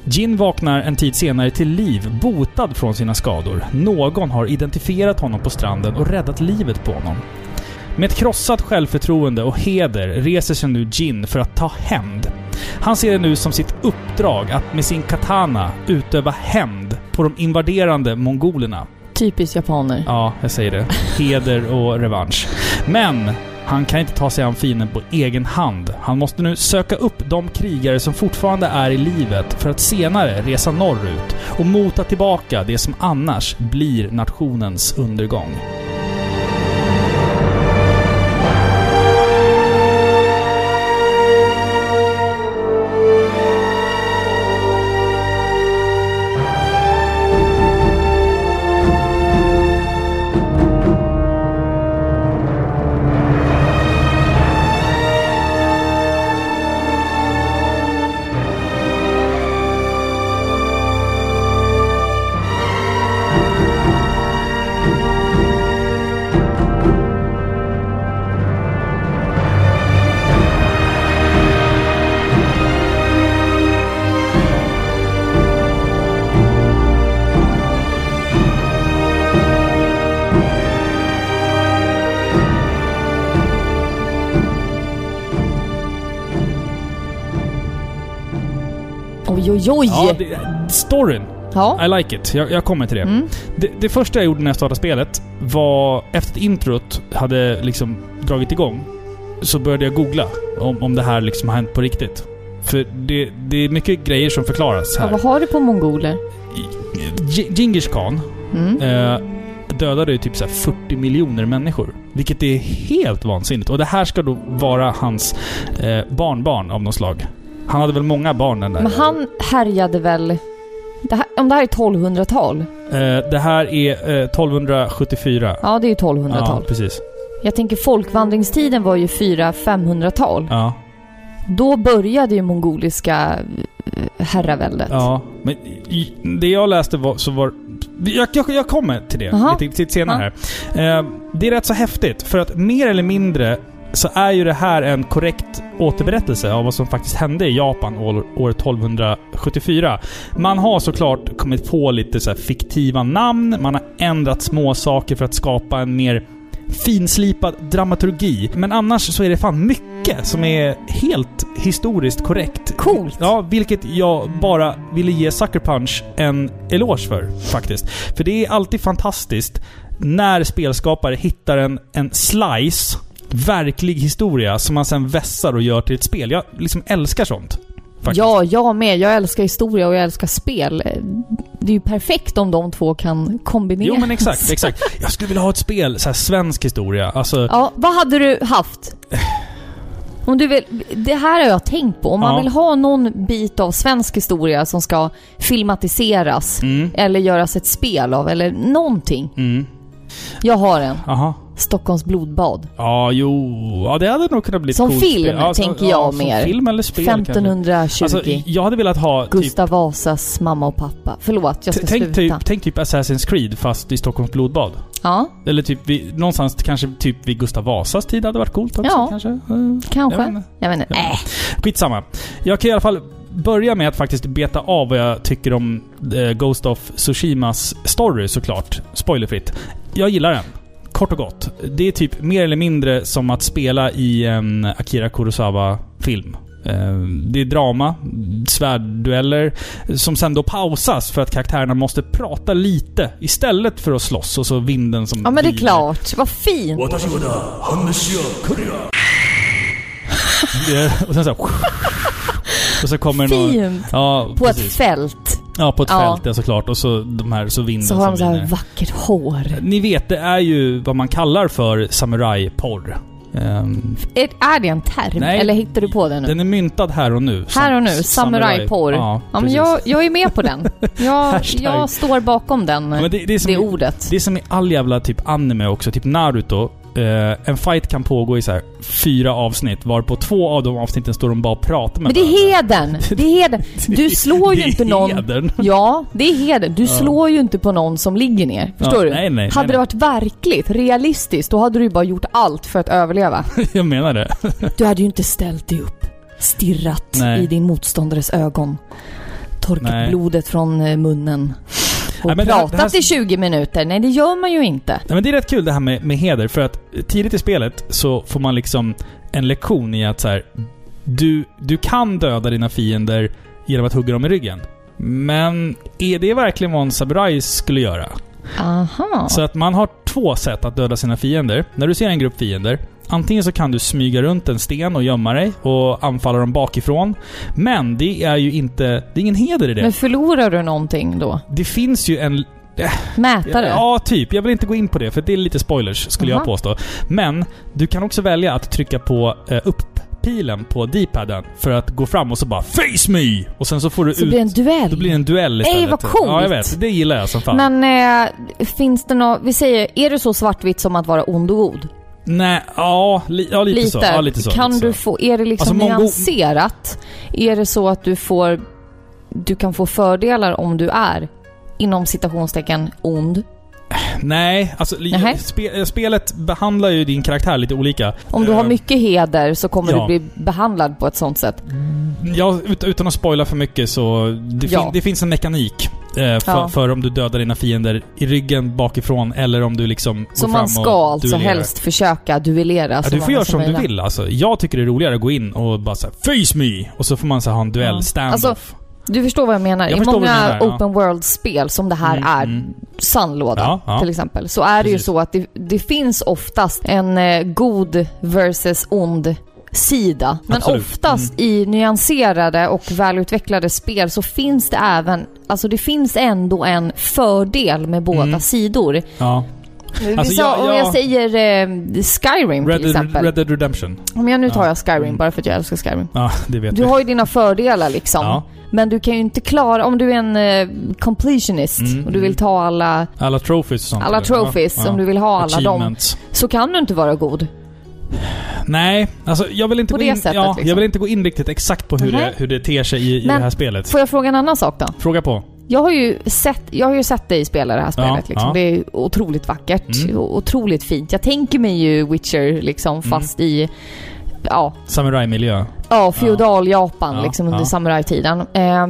Speaker 1: Jin vaknar en tid senare till liv, botad från sina skador. Någon har identifierat honom på stranden och räddat livet på honom. Med ett krossat självförtroende och heder reser sig nu Jin för att ta hämnd. Han ser det nu som sitt uppdrag att med sin katana utöva hämnd på de invaderande mongolerna.
Speaker 2: Typiskt japaner.
Speaker 1: Ja, jag säger det. Heder och revansch. Men han kan inte ta sig an fienden på egen hand. Han måste nu söka upp de krigare som fortfarande är i livet för att senare resa norrut och mota tillbaka det som annars blir nationens undergång.
Speaker 2: Oj, oj, oj!
Speaker 1: Ja, det, storyn.
Speaker 2: Ja.
Speaker 1: I like it. Jag, jag kommer till det.
Speaker 2: Mm.
Speaker 1: det. Det första jag gjorde när jag startade spelet var, efter att introt hade liksom dragit igång, så började jag googla om, om det här liksom har hänt på riktigt. För det, det är mycket grejer som förklaras
Speaker 2: Ja,
Speaker 1: här.
Speaker 2: vad har du på mongoler?
Speaker 1: G- Djingis khan
Speaker 2: Mm.
Speaker 1: eh, dödade ju typ så här 40 miljoner människor. Vilket är helt vansinnigt. Och det här ska då vara hans eh, barnbarn av något slag. Han hade väl många barn den där.
Speaker 2: Men han härjade väl... Det här, om det här är 1200-tal?
Speaker 1: Eh, det här är eh, 1274.
Speaker 2: Ja, det är ju 1200-tal.
Speaker 1: Ja, precis.
Speaker 2: Jag tänker folkvandringstiden var ju 400-500-tal.
Speaker 1: Ja,
Speaker 2: Då började ju mongoliska eh, herraväldet.
Speaker 1: ja. Men i- det jag läste var, så var... Jag, jag, jag kommer till det
Speaker 2: Aha.
Speaker 1: lite, lite senare här. Eh, det är rätt så häftigt, för att mer eller mindre så är ju det här en korrekt återberättelse av vad som faktiskt hände i Japan år, år 1274. Man har såklart kommit på lite så här fiktiva namn, man har ändrat små saker för att skapa en mer finslipad dramaturgi. Men annars så är det fan mycket som är helt historiskt korrekt.
Speaker 2: Coolt.
Speaker 1: Ja, vilket jag bara ville ge Sucker Punch en eloge för faktiskt. För det är alltid fantastiskt när spelskapare hittar en, en slice verklig historia som man sen vässar och gör till ett spel. Jag liksom älskar sånt. Faktiskt.
Speaker 2: Ja, jag med. Jag älskar historia och jag älskar spel. Det är ju perfekt om de två kan kombineras.
Speaker 1: Jo men exakt, exakt. Jag skulle vilja ha ett spel, så här svensk historia. Alltså,
Speaker 2: Ja, vad hade du haft? Om du vill, det här har jag tänkt på. Om man
Speaker 1: Ja.
Speaker 2: vill ha någon bit av svensk historia som ska filmatiseras
Speaker 1: Mm.
Speaker 2: eller göras ett spel av eller någonting.
Speaker 1: mm,
Speaker 2: Jag har en.
Speaker 1: aha.
Speaker 2: Stockholms blodbad.
Speaker 1: Ja, jo. Ja, det hade nog kunnat bli ett
Speaker 2: Som
Speaker 1: coolt
Speaker 2: film,
Speaker 1: spel. Ja, som-
Speaker 2: tänker jag
Speaker 1: ja, som
Speaker 2: mer.
Speaker 1: film eller spel kanske.
Speaker 2: 1520.
Speaker 1: Alltså, jag hade velat ha typ
Speaker 2: Gustav Vasas mamma och pappa. Förlåt, jag
Speaker 1: T-
Speaker 2: ska
Speaker 1: Tänk typ,
Speaker 2: sluta.
Speaker 1: tänk typ Assassin's Creed fast i Stockholms blodbad.
Speaker 2: Ja,
Speaker 1: Eller typ vid, någonstans kanske typ vid Gustav Vasas tid hade varit coolt också
Speaker 2: Ja.
Speaker 1: kanske. Eh,
Speaker 2: kanske.
Speaker 1: jag
Speaker 2: Jag
Speaker 1: vet
Speaker 2: vet
Speaker 1: inte.
Speaker 2: inte.
Speaker 1: Ja.
Speaker 2: Äh,
Speaker 1: Skitsamma. Jag kan i alla fall börja med att faktiskt beta av vad jag tycker om eh, Ghost of Tsushimas story såklart. Spoilerfritt. Jag gillar den. Kort och gott. Det är typ mer eller mindre som att spela i en Akira Kurosawa-film. Eh, Det är drama, svärddueller, som sen då pausas för att karaktärerna måste prata lite istället för att slåss och så vinden som
Speaker 2: ja men det är
Speaker 1: viner.
Speaker 2: klart. Vad fint.
Speaker 1: Eh, Och sen så här, Och så kommer det någon...
Speaker 2: Fint.
Speaker 1: Ja,
Speaker 2: På
Speaker 1: precis.
Speaker 2: ett fält.
Speaker 1: Ja, på ett
Speaker 2: Ja.
Speaker 1: fält ja, såklart. Och så de här, så vinden
Speaker 2: Så har de så
Speaker 1: som
Speaker 2: här
Speaker 1: viner.
Speaker 2: vackert hår.
Speaker 1: Ni vet, det är ju vad man kallar för samurajporr. Ehm,
Speaker 2: Är, är det en term?
Speaker 1: Nej.
Speaker 2: Eller hittar du på den nu?
Speaker 1: den är myntad här och nu. som
Speaker 2: Här och nu,
Speaker 1: s-
Speaker 2: samurajporr.
Speaker 1: Ja,
Speaker 2: Ja, men
Speaker 1: precis.
Speaker 2: jag, jag är med på den. Jag,
Speaker 1: Hashtag.
Speaker 2: jag står bakom den,
Speaker 1: Ja, men
Speaker 2: det,
Speaker 1: det, det, är som,
Speaker 2: ordet.
Speaker 1: det är som i all jävla typ anime också. Typ Naruto eh, en fight kan pågå i så här fyra avsnitt, varpå två av de avsnitten står de bara och pratar med
Speaker 2: Men det är
Speaker 1: varandra.
Speaker 2: heden! Det är heden! Du slår
Speaker 1: Det
Speaker 2: ju
Speaker 1: är
Speaker 2: inte någon...
Speaker 1: hedern.
Speaker 2: Ja, det är heden. Du slår ju inte på någon som ligger ner. Förstår
Speaker 1: Ja,
Speaker 2: du?
Speaker 1: nej, nej, nej,
Speaker 2: hade
Speaker 1: nej.
Speaker 2: det varit verkligt, realistiskt, då hade du ju bara gjort allt för att överleva.
Speaker 1: Jag menar det.
Speaker 2: Du hade ju inte ställt dig upp, stirrat
Speaker 1: Nej.
Speaker 2: i din motståndares ögon, torkat
Speaker 1: Nej.
Speaker 2: blodet från eh, munnen och
Speaker 1: Nej, men det här-
Speaker 2: pratat
Speaker 1: det här-
Speaker 2: i 20 minuter. Nej, det gör man ju inte.
Speaker 1: Nej, men det är rätt kul det här med, med heder, för att tidigt i spelet så får man liksom en lektion i att så här, du, du kan döda dina fiender genom att hugga dem i ryggen. Men är det verkligen vad en samurai skulle göra?
Speaker 2: Aha.
Speaker 1: Så att man har två sätt att döda sina fiender. När du ser en grupp fiender, antingen så kan du smyga runt en sten och gömma dig och anfalla dem bakifrån. Men det är ju inte... Det är ingen heder i det.
Speaker 2: Men förlorar du någonting då?
Speaker 1: det finns ju en
Speaker 2: Mätare?
Speaker 1: Ja, typ. Jag vill inte gå in på det, för det är lite spoilers, skulle jag
Speaker 2: Aha.
Speaker 1: påstå. Men du kan också välja att trycka på eh, upp-pilen på D-paden för att gå fram och så bara FACE ME! Och sen så får du
Speaker 2: Så
Speaker 1: ut...
Speaker 2: blir det en duell?
Speaker 1: Då blir det en duell
Speaker 2: Ey,
Speaker 1: istället.
Speaker 2: vad coolt!
Speaker 1: Ja, jag vet. Det gillar jag som fan.
Speaker 2: Men eh, finns det något, vi säger, är det så svartvitt som att vara ond och god?
Speaker 1: Nej, ja, li, ja, lite, så. Ja, lite så.
Speaker 2: kan
Speaker 1: lite
Speaker 2: du
Speaker 1: så.
Speaker 2: få, är det liksom
Speaker 1: Alltså, mongo-
Speaker 2: nyanserat? Är det så att du får, du kan få fördelar om du är, inom citationstecken, ond?
Speaker 1: Nej, alltså li,
Speaker 2: Nähä.
Speaker 1: spe, eh, spelet behandlar ju din karaktär lite olika.
Speaker 2: Om du har
Speaker 1: Eh,
Speaker 2: mycket heder så kommer
Speaker 1: ja.
Speaker 2: du bli behandlad på ett sånt sätt.
Speaker 1: Ja, ut- utan att spoila för mycket så... Det,
Speaker 2: Ja.
Speaker 1: fin, det finns en mekanik eh, för,
Speaker 2: Ja.
Speaker 1: för om du dödar dina fiender i ryggen bakifrån eller om du liksom går
Speaker 2: Så
Speaker 1: fram
Speaker 2: man ska
Speaker 1: och
Speaker 2: alltså
Speaker 1: duellerar.
Speaker 2: helst alltså försöka duellera
Speaker 1: Ja,
Speaker 2: så
Speaker 1: du får
Speaker 2: många
Speaker 1: göra som du
Speaker 2: möjligt.
Speaker 1: vill alltså. Jag tycker det är roligare att gå in och bara såhär FACE ME! Och så får man så här, ha en duell,
Speaker 2: Ja.
Speaker 1: stand-off.
Speaker 2: Alltså, Du förstår vad jag menar.
Speaker 1: Jag
Speaker 2: I
Speaker 1: förstår vad du
Speaker 2: många
Speaker 1: menar, ja.
Speaker 2: open world-spel som det här är,
Speaker 1: mm.
Speaker 2: sandlåda
Speaker 1: Ja, ja.
Speaker 2: till exempel, så är det ju
Speaker 1: Precis.
Speaker 2: så att det, det finns oftast en eh, god versus ond sida. Men
Speaker 1: Absolut. Mm.
Speaker 2: oftast i nyanserade och välutvecklade spel så finns det även, alltså det finns ändå en fördel med båda
Speaker 1: Mm.
Speaker 2: sidor.
Speaker 1: ja. Alltså,
Speaker 2: Vissa,
Speaker 1: jag-
Speaker 2: Om jag
Speaker 1: jag-
Speaker 2: säger eh, Skyrim
Speaker 1: Red,
Speaker 2: till exempel.
Speaker 1: Dead, Red Dead Redemption.
Speaker 2: Om jag nu tar
Speaker 1: Ja.
Speaker 2: jag Skyrim
Speaker 1: Mm.
Speaker 2: bara för att jag älskar Skyrim.
Speaker 1: Ja, det vet
Speaker 2: Du
Speaker 1: vi.
Speaker 2: har ju dina fördelar liksom.
Speaker 1: Ja.
Speaker 2: Men du kan ju inte klara, om du är en eh, completionist
Speaker 1: Mm,
Speaker 2: och du
Speaker 1: mm.
Speaker 2: vill ta alla,
Speaker 1: Alla trophies och sånt.
Speaker 2: alla
Speaker 1: eller?
Speaker 2: trophies,
Speaker 1: Ja, ja.
Speaker 2: om du vill ha alla dem,
Speaker 1: Achievements.
Speaker 2: så kan du inte vara god.
Speaker 1: Nej, alltså jag vill inte
Speaker 2: På
Speaker 1: gå
Speaker 2: det
Speaker 1: in...
Speaker 2: sättet,
Speaker 1: ja,
Speaker 2: liksom.
Speaker 1: Jag vill inte gå in riktigt exakt på hur,
Speaker 2: Mhm.
Speaker 1: det, hur det ter sig i, i
Speaker 2: Men-
Speaker 1: det här spelet.
Speaker 2: Får jag fråga en annan sak då?
Speaker 1: Fråga på.
Speaker 2: Jag har ju sett, jag har ju sett dig spela det här spelet. liksom.
Speaker 1: ja.
Speaker 2: Det är ju otroligt vackert
Speaker 1: Mm.
Speaker 2: och otroligt fint. Jag tänker mig ju Witcher liksom, fast i ja,
Speaker 1: Samurai-miljö.
Speaker 2: ja, feodal-Japan
Speaker 1: Ja,
Speaker 2: liksom, under
Speaker 1: ja.
Speaker 2: samurajtiden. Eh,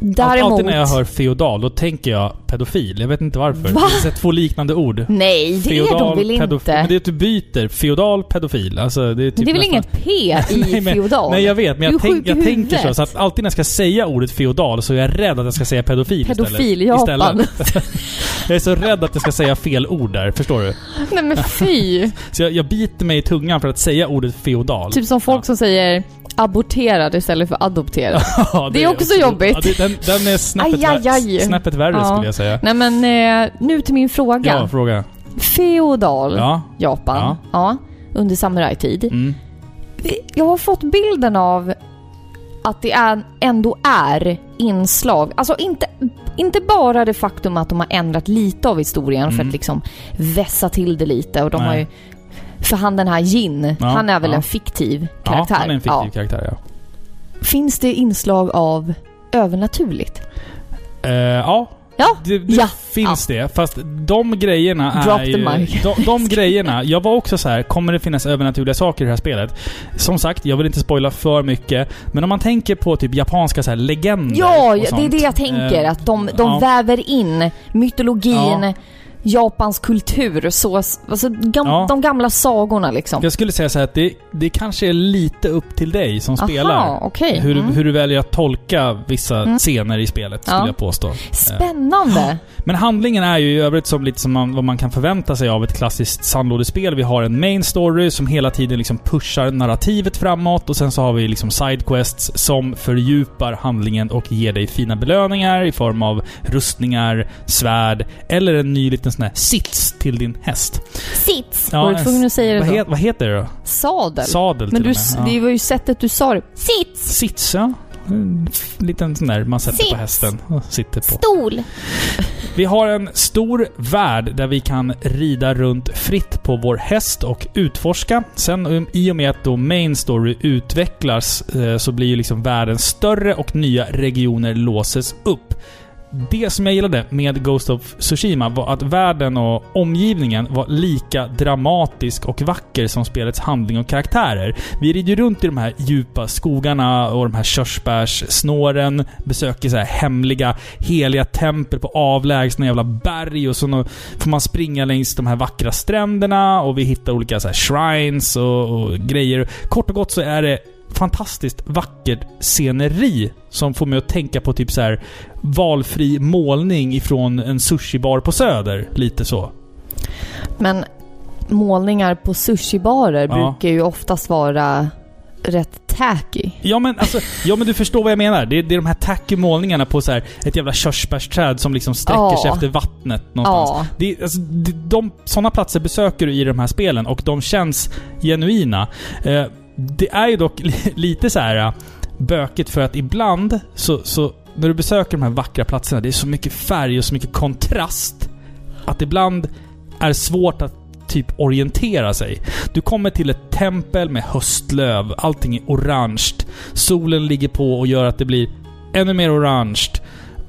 Speaker 1: Däremot...
Speaker 2: däremot...
Speaker 1: Alltid när jag hör feodal, då tänker jag pedofil. Jag vet inte varför.
Speaker 2: Va?
Speaker 1: Det är två liknande ord.
Speaker 2: Nej, det är de väl inte?
Speaker 1: pedofil. Men det är att du byter. Feodal, pedofil. Alltså, det är, typ
Speaker 2: Men det är väl
Speaker 1: nästan-
Speaker 2: inget P i
Speaker 1: Nej, men-
Speaker 2: feodal?
Speaker 1: Nej, jag vet. Men
Speaker 2: Du
Speaker 1: jag,
Speaker 2: är sjuk
Speaker 1: tänk,
Speaker 2: i
Speaker 1: jag tänker så.
Speaker 2: huvudet.
Speaker 1: Så att alltid när jag ska säga ordet feodal så är jag rädd att jag ska säga pedofil,
Speaker 2: Pedofil i
Speaker 1: istället.
Speaker 2: Japan.
Speaker 1: jag är så rädd att jag ska säga fel ord där. Förstår du?
Speaker 2: Nej men fy!
Speaker 1: Så jag, jag biter mig i tungan för att säga ordet feodal.
Speaker 2: Typ som folk som säger aborterad istället för adopterad.
Speaker 1: Ja,
Speaker 2: det är också jobbigt.
Speaker 1: Ja, det, den, den är snäppet,
Speaker 2: Aj, aj, aj.
Speaker 1: vär- snäppet värre
Speaker 2: Ja.
Speaker 1: skulle jag säga.
Speaker 2: Nej men eh, nu till min fråga.
Speaker 1: Ja, fråga.
Speaker 2: Feodal
Speaker 1: Ja.
Speaker 2: Japan. Ja. under samurajtid.
Speaker 1: Mm.
Speaker 2: Jag har fått bilden av att det är, ändå är inslag. Alltså inte, inte bara det faktum att de har ändrat lite av historien för
Speaker 1: Mm.
Speaker 2: att liksom vässa till det lite. Och de
Speaker 1: Nej.
Speaker 2: har ju, för han den här Jin,
Speaker 1: Ja,
Speaker 2: han är väl
Speaker 1: ja.
Speaker 2: en fiktiv
Speaker 1: ja,
Speaker 2: karaktär?
Speaker 1: han är en fiktiv karaktär ja.
Speaker 2: Finns det inslag av övernaturligt?
Speaker 1: Eh, ja.
Speaker 2: Ja,
Speaker 1: Det, det
Speaker 2: ja,
Speaker 1: finns det. Fast de grejerna
Speaker 2: Drop
Speaker 1: är
Speaker 2: the
Speaker 1: ju...
Speaker 2: mic.
Speaker 1: De, de grejerna. Jag var också så här, kommer det finnas övernaturliga saker i det här spelet? Som sagt, jag vill inte spoila för mycket. Men om man tänker på typ japanska så här legender
Speaker 2: Ja,
Speaker 1: och
Speaker 2: det är
Speaker 1: sånt.
Speaker 2: det jag tänker.
Speaker 1: Eh,
Speaker 2: Att de, de
Speaker 1: ja.
Speaker 2: väver in mytologin,
Speaker 1: Ja.
Speaker 2: Japans kultur, så, alltså, gam,
Speaker 1: Ja.
Speaker 2: de gamla sagorna liksom.
Speaker 1: Jag skulle säga så här att det, det kanske är lite upp till dig som
Speaker 2: Aha,
Speaker 1: spelar.
Speaker 2: okej.
Speaker 1: Hur,
Speaker 2: Mm.
Speaker 1: hur du väljer att tolka vissa
Speaker 2: Mm.
Speaker 1: scener i spelet, skulle
Speaker 2: Ja.
Speaker 1: jag påstå.
Speaker 2: Spännande!
Speaker 1: Men handlingen är ju i övrigt som lite som man, vad man kan förvänta sig av ett klassiskt sandlådespel. Vi har en main story som hela tiden liksom pushar narrativet framåt och sen så har vi liksom sidequests som fördjupar handlingen och ger dig fina belöningar i form av rustningar, svärd eller en ny liten sån här sits till din häst.
Speaker 2: Sits!
Speaker 1: Ja,
Speaker 2: var du
Speaker 1: en-
Speaker 2: tvungen att säga det
Speaker 1: vad,
Speaker 2: så?
Speaker 1: het, vad heter det då?
Speaker 2: Sadel.
Speaker 1: Sadel
Speaker 2: Men
Speaker 1: till
Speaker 2: du,
Speaker 1: och med.
Speaker 2: det var ju sättet du sa det. Sits!
Speaker 1: Sits, ja. en f- liten sån där man sätter
Speaker 8: Sits.
Speaker 1: på hästen och sitter på.
Speaker 8: Stol.
Speaker 1: Vi har en stor värld där vi kan rida runt fritt på vår häst och utforska. Sen um, i och med att då main story utvecklas eh, så blir ju liksom världen större och nya regioner låses upp. Det som jag gillade med Ghost of Tsushima var att världen och omgivningen var lika dramatisk och vacker som spelets handling och karaktärer. Vi rider ju runt i de här djupa skogarna och de här körsbärssnåren, besöker så här hemliga, heliga tempel på avlägsna jävla berg och så nå- får man springa längs de här vackra stränderna och vi hittar olika så här shrines och, och grejer. Kort och gott så är det fantastiskt vackert sceneri som får mig att tänka på typ så här valfri målning ifrån en sushibar på Söder. Lite så.
Speaker 2: Men målningar på sushibarer
Speaker 1: Ja.
Speaker 2: brukar ju oftast vara rätt tacky.
Speaker 1: Ja men alltså, ja men du förstår vad jag menar. Det är, det är de här tacky målningarna på så här ett jävla körsbärsträd som liksom sträcker sig
Speaker 2: Ja.
Speaker 1: efter vattnet någonstans.
Speaker 2: Ja.
Speaker 1: Det, är- alltså, det, de, sådana platser besöker du i de här spelen och de känns genuina. Eh, det är ju dock li, lite så här eh, bökigt för att ibland så, så när du besöker de här vackra platserna, det är så mycket färg och så mycket kontrast att ibland är svårt att typ orientera sig. Du kommer till ett tempel med höstlöv, allting är orange. Solen ligger på och gör att det blir ännu mer orange.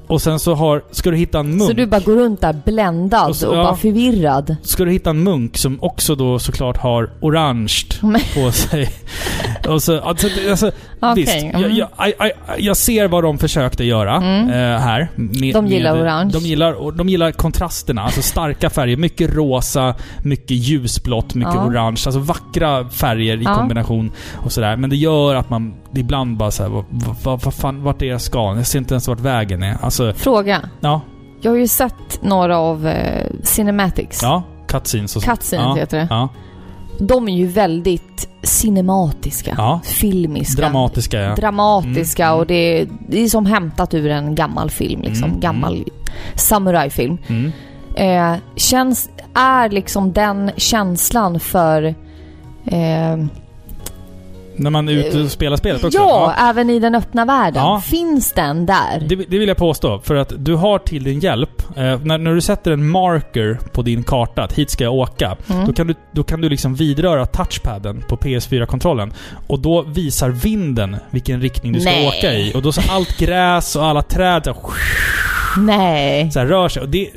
Speaker 1: Och sen så har, ska du hitta en munk.
Speaker 2: Så du bara går runt där bländad
Speaker 1: Och
Speaker 2: och,
Speaker 1: så- ja.
Speaker 2: bara förvirrad.
Speaker 1: ska du hitta en munk som också då såklart har orange
Speaker 2: Men-
Speaker 1: på sig. och så, alltså, det- alltså,
Speaker 2: Okej,
Speaker 1: visst,
Speaker 2: mm.
Speaker 1: jag, jag, I, I, jag ser vad de försökte göra
Speaker 2: Mm.
Speaker 1: eh, här. med-
Speaker 2: De gillar orange.
Speaker 1: De gillar, och de gillar kontrasterna, alltså starka färger. Mycket rosa, mycket ljusblått, mycket
Speaker 2: Ja.
Speaker 1: orange. Alltså vackra färger i
Speaker 2: Ja.
Speaker 1: kombination och sådär. Men det gör att man ibland bara såhär, vad, vad, vad fan, vart är jag ska? Jag ser inte ens vart vägen är. Alltså,
Speaker 2: Fråga.
Speaker 1: ja.
Speaker 2: Jag har ju sett några av eh, Cinematics.
Speaker 1: Ja. Cutscenes och sånt.
Speaker 2: Cutscenes
Speaker 1: ja,
Speaker 2: heter det.
Speaker 1: Ja.
Speaker 2: De är ju väldigt cinematiska.
Speaker 1: Ja.
Speaker 2: Filmiska.
Speaker 1: Dramatiska ja.
Speaker 2: Dramatiska
Speaker 1: Mm, mm.
Speaker 2: och det är, det är som hämtat ur en gammal film. Liksom.
Speaker 1: Mm,
Speaker 2: Gammal samurajfilm.
Speaker 1: Mm.
Speaker 2: Eh, känns, är liksom den känslan för... Eh,
Speaker 1: När man är ute och spelar spelet också?
Speaker 2: ja, även i den öppna världen.
Speaker 1: Ja.
Speaker 2: Finns den där?
Speaker 1: Det, det vill jag påstå, för att du har till din hjälp, eh, när, när du sätter en marker på din karta, att hit ska jag åka,
Speaker 2: Mm.
Speaker 1: då, kan du, då kan du liksom vidröra touchpaden på PS4-kontrollen. Och då visar vinden vilken riktning du ska
Speaker 2: Nej.
Speaker 1: åka i. Och då så allt gräs och alla träd så här,
Speaker 2: Nej.
Speaker 1: så här rör sig. Och det,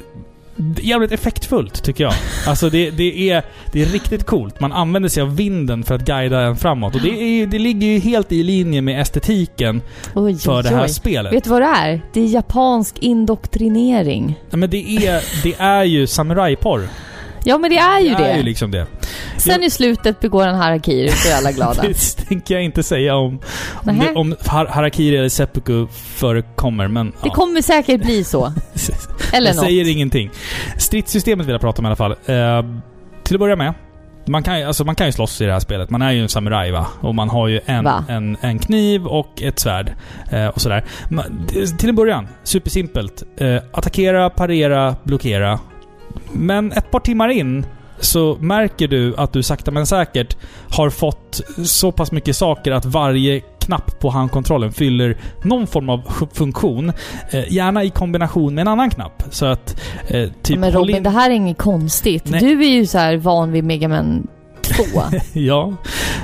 Speaker 1: det är jävligt effektfullt, tycker jag. Alltså det, det, är, det är riktigt coolt. Man använder sig av vinden för att guida en framåt. Och det, är, det ligger ju helt i linje med estetiken
Speaker 2: Oj,
Speaker 1: för det
Speaker 2: oj,
Speaker 1: här
Speaker 2: oj.
Speaker 1: spelet.
Speaker 2: Vet du vad det är? Det är japansk indoktrinering.
Speaker 1: Nej, men det är, det är ju samurajporr.
Speaker 2: Ja, men det är ju det.
Speaker 1: är ju liksom det.
Speaker 2: Sen i slutet begår han harakiri så är alla glada.
Speaker 1: Det tänker jag inte säga om, om,
Speaker 2: Nähä.
Speaker 1: det, om har, harakiri eller seppuku förekommer, men...
Speaker 2: Det
Speaker 1: ja.
Speaker 2: kommer säkert bli så. Eller
Speaker 1: Jag
Speaker 2: något.
Speaker 1: säger ingenting. Stridssystemet vill jag prata om i alla fall. Eh, till att börja med. Man kan, ju- alltså man kan ju slåss i det här spelet. Man är ju en samuraj va? Och man har ju en,
Speaker 2: Va?
Speaker 1: en, en kniv och ett svärd. Eh, och sådär. Men, det- till en början, supersimpelt. Eh, attackera, parera, blockera. Men ett par timmar in så märker du att du sakta men säkert har fått så pass mycket saker att varje knapp på handkontrollen fyller någon form av funktion. Eh, gärna i kombination med en annan knapp. Så att... Eh, typ
Speaker 2: men
Speaker 1: håll
Speaker 2: Robin,
Speaker 1: in-
Speaker 2: det här är inget konstigt.
Speaker 1: Nej.
Speaker 2: Du är ju så här van vid Mega Man 2.
Speaker 1: Ja.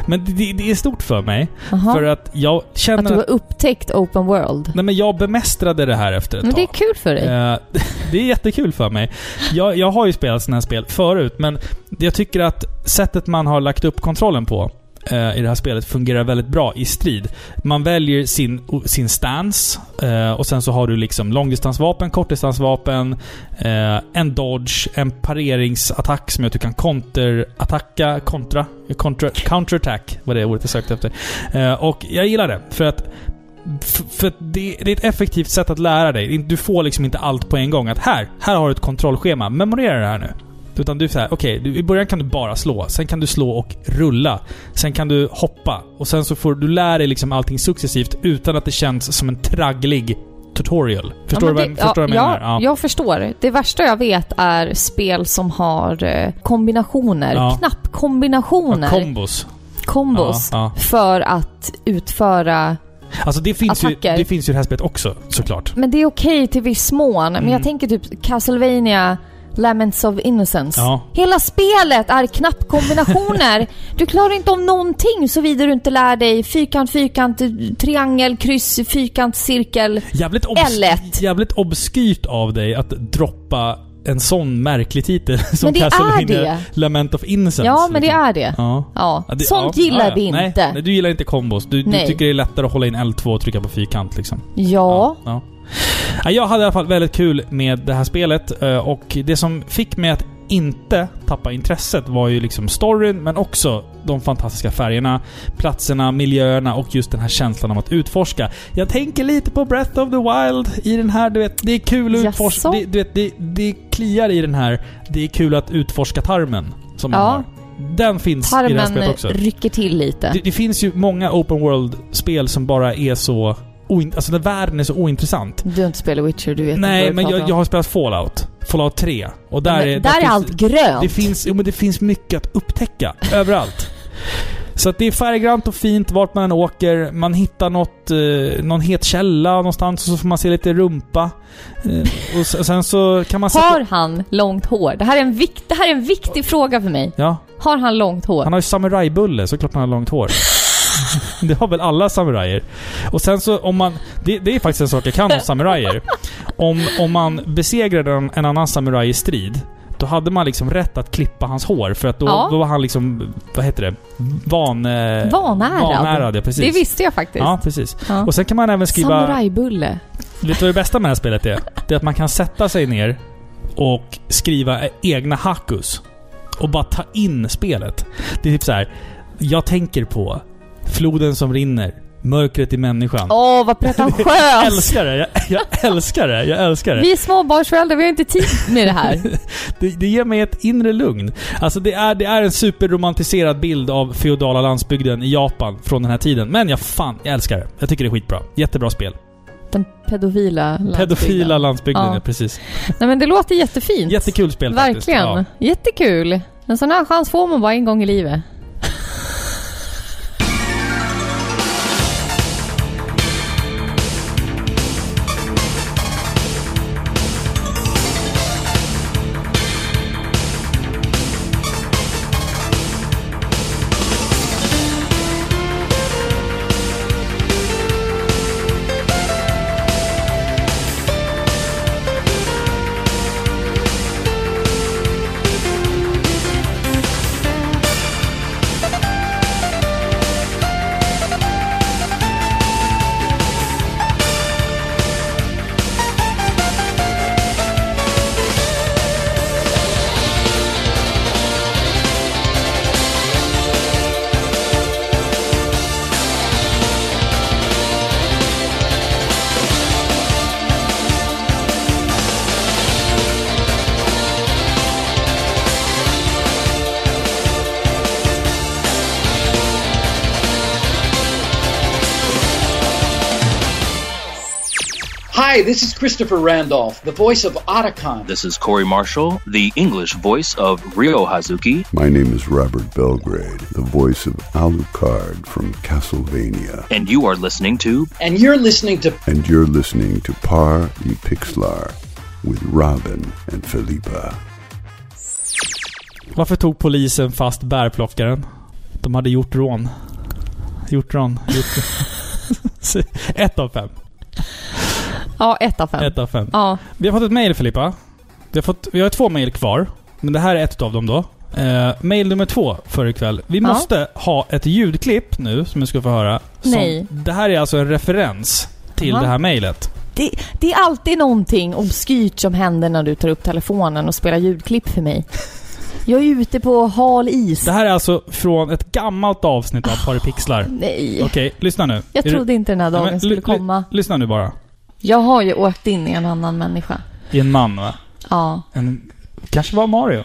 Speaker 1: Men det, det är stort för mig.
Speaker 2: Aha.
Speaker 1: För att jag
Speaker 2: Att du
Speaker 1: känner
Speaker 2: har
Speaker 1: att...
Speaker 2: upptäckt Open World.
Speaker 1: Nej men jag bemästrade det här efter ett
Speaker 2: Men det är
Speaker 1: tag.
Speaker 2: kul för dig.
Speaker 1: Eh, det är jättekul för mig. Jag, jag har ju spelat sådana här spel förut, men jag tycker att sättet man har lagt upp kontrollen på eh, i det här spelet fungerar väldigt bra i strid. Man väljer sin, o- sin stance eh, och sen så har du liksom långdistansvapen, kortdistansvapen, eh, en dodge, en pareringsattack som gör att du kan counterattacka, kontra, kontra, counterattack var det ordet jag sökte efter. Eh, och jag gillar det, för att F- För att det, det är ett effektivt sätt att lära dig. Du får liksom inte allt på en gång. Att här, här har du ett kontrollschema. Memorera det här nu. Utan du är såhär, okej, du- i början kan du bara slå. Sen kan du slå och rulla. Sen kan du hoppa. Och sen så får du lära dig liksom allting successivt utan att det känns som en tragglig tutorial. Förstår
Speaker 2: Ja,
Speaker 1: du vad,
Speaker 2: men
Speaker 1: jag-
Speaker 2: det-
Speaker 1: förstår du vad jag menar?
Speaker 2: Ja, jag förstår. Det värsta jag vet är spel som har eh, kombinationer.
Speaker 1: Ja.
Speaker 2: Knappkombinationer.
Speaker 1: Ja, Kombos.
Speaker 2: kombos.
Speaker 1: Ja, ja.
Speaker 2: För att utföra
Speaker 1: Alltså det finns, ju,
Speaker 2: Attacker.
Speaker 1: det finns ju i det här spelet också såklart.
Speaker 2: Men det är okej till viss mån. Men
Speaker 1: Mm.
Speaker 2: jag tänker typ Castlevania Laments of Innocence.
Speaker 1: Ja.
Speaker 2: Hela spelet är knappkombinationer. du klarar inte om någonting såvida du inte lär dig fyrkant, fyrkant, triangel, kryss, fyrkant, cirkel.
Speaker 1: Jävligt, obs-
Speaker 2: L1.
Speaker 1: jävligt obskyrt av dig att droppa en sån märklig titel som
Speaker 2: Men det är
Speaker 1: Castlevania
Speaker 2: det.
Speaker 1: Lament of Innocence.
Speaker 2: Ja, men det
Speaker 1: liksom.
Speaker 2: är det.
Speaker 1: Ja.
Speaker 2: Ja.
Speaker 1: Ja, det-
Speaker 2: Sånt
Speaker 1: ja,
Speaker 2: gillar
Speaker 1: ja, ja.
Speaker 2: vi
Speaker 1: Nej,
Speaker 2: inte.
Speaker 1: Nej, du gillar inte kombos. Du, du
Speaker 2: Nej.
Speaker 1: tycker det är lättare att hålla in L2 och trycka på fyrkant liksom.
Speaker 2: Ja.
Speaker 1: ja. Ja, Jag hade i alla fall väldigt kul med det här spelet eh, och det som fick mig att inte tappa intresset var ju liksom storyn men också de fantastiska färgerna, platserna, miljöerna och just den här känslan om att utforska. Jag tänker lite på Breath of the Wild i den här, du vet, det är kul att utforska.
Speaker 2: Jaså?
Speaker 1: Det, du vet, det, det kliar i den här, det är kul att utforska tarmen som man
Speaker 2: Ja.
Speaker 1: har. Den finns i det här spelet
Speaker 2: Tarmen
Speaker 1: också.
Speaker 2: rycker till lite.
Speaker 1: Det, det finns ju många open world-spel som bara är så... Oin- alltså när världen är så ointressant.
Speaker 2: Du har inte spelat Witcher, du vet
Speaker 1: Nej,
Speaker 2: inte
Speaker 1: men
Speaker 2: vad
Speaker 1: jag, jag har spelat Fallout. Fallout 3. Och där är...
Speaker 2: där är, där är
Speaker 1: finns,
Speaker 2: allt grönt.
Speaker 1: det finns, jo, men det finns mycket att upptäcka. överallt. Så att det är färggrant och fint vart man än åker. Man hittar något, eh, någon het källa någonstans och så får man se lite rumpa. Eh, och s- sen så kan man
Speaker 2: Har han långt hår? Det här, är en vikt, det här är en viktig fråga för mig.
Speaker 1: Ja,
Speaker 2: Har han långt hår?
Speaker 1: Han har ju samurajbulle, så klart han har långt hår. Det har väl alla samurajer? Och sen så om man... Det, det är faktiskt en sak jag kan om samurajer. Om, om man besegrade en, en annan samuraj i strid, då hade man liksom rätt att klippa hans hår. För att då,
Speaker 2: Ja.
Speaker 1: då var han liksom... Vad heter det? Van... eh,
Speaker 2: Vanärad.
Speaker 1: Vanärad, ja precis.
Speaker 2: Det visste jag faktiskt.
Speaker 1: Ja, precis.
Speaker 2: Ja.
Speaker 1: Och sen kan man även skriva...
Speaker 2: Samurajbulle.
Speaker 1: Vet du vad det bästa med det här spelet är? Det är att man kan sätta sig ner och skriva egna hakus. Och bara ta in spelet. Det är typ så här. Jag tänker på floden som rinner, mörkret i människan.
Speaker 2: Åh, vad
Speaker 1: Jag
Speaker 2: pretentiöst!
Speaker 1: älskar det! Jag, jag älskar det! Jag älskar det.
Speaker 2: Vi är småbarnsföräldrar, vi har inte tid med det här.
Speaker 1: det! Det ger mig ett inre lugn. Alltså det är, det är en superromantiserad bild av feodala landsbygden i Japan från den här tiden. Men jag fan, jag älskar det. Jag tycker det är skitbra. Jättebra spel.
Speaker 2: Den pedofila landsbygden.
Speaker 1: Pedofila landsbygden,
Speaker 2: Ja.
Speaker 1: ja. precis.
Speaker 2: Nej men det låter jättefint.
Speaker 1: Jättekul spel faktiskt.
Speaker 2: Verkligen.
Speaker 1: Ja.
Speaker 2: Jättekul. En sån här chans får man bara en gång i livet.
Speaker 8: Hi, this is Christopher Randolph, the voice of Otacon.
Speaker 9: This is Corey Marshall, the English voice of Ryo Hazuki.
Speaker 10: My name is Robert Belgrade, the voice of Alucard from Castlevania,
Speaker 9: And you are listening to
Speaker 8: and you're listening to
Speaker 10: and you're listening to Par y Pixlar with Robin and Philippa.
Speaker 1: Varför tog polisen fast bärplockaren? De hade gjort rån. Gjort rån. Gjort... ett av fem.
Speaker 2: Ja, ett av fem.
Speaker 1: Ett av fem.
Speaker 2: Ja.
Speaker 1: Vi har fått ett mejl Filippa. Vi har, fått, vi har två mejl kvar. Men det här är ett av dem då. Eh, mejl nummer två för ikväll. Vi
Speaker 2: Ja.
Speaker 1: måste ha ett ljudklipp nu som vi ska få höra. Som,
Speaker 2: Nej.
Speaker 1: Det här är alltså en referens till
Speaker 2: Jaha.
Speaker 1: det här mejlet.
Speaker 2: Det, det är alltid någonting obskyrt som händer när du tar upp telefonen och spelar ljudklipp för mig. Jag är ute på hal is.
Speaker 1: Det här är alltså från ett gammalt avsnitt av Par i Pixlar.
Speaker 2: Nej.
Speaker 1: Okej, lyssna nu.
Speaker 2: Jag
Speaker 1: Är du-
Speaker 2: trodde inte den här
Speaker 1: Nej,
Speaker 2: dagen
Speaker 1: men
Speaker 2: skulle
Speaker 1: ly-
Speaker 2: komma.
Speaker 1: Ly, lyssna nu bara.
Speaker 2: Jag har ju åkt in i en annan människa.
Speaker 1: I en man va?
Speaker 2: Ja.
Speaker 1: En, kanske var Mario.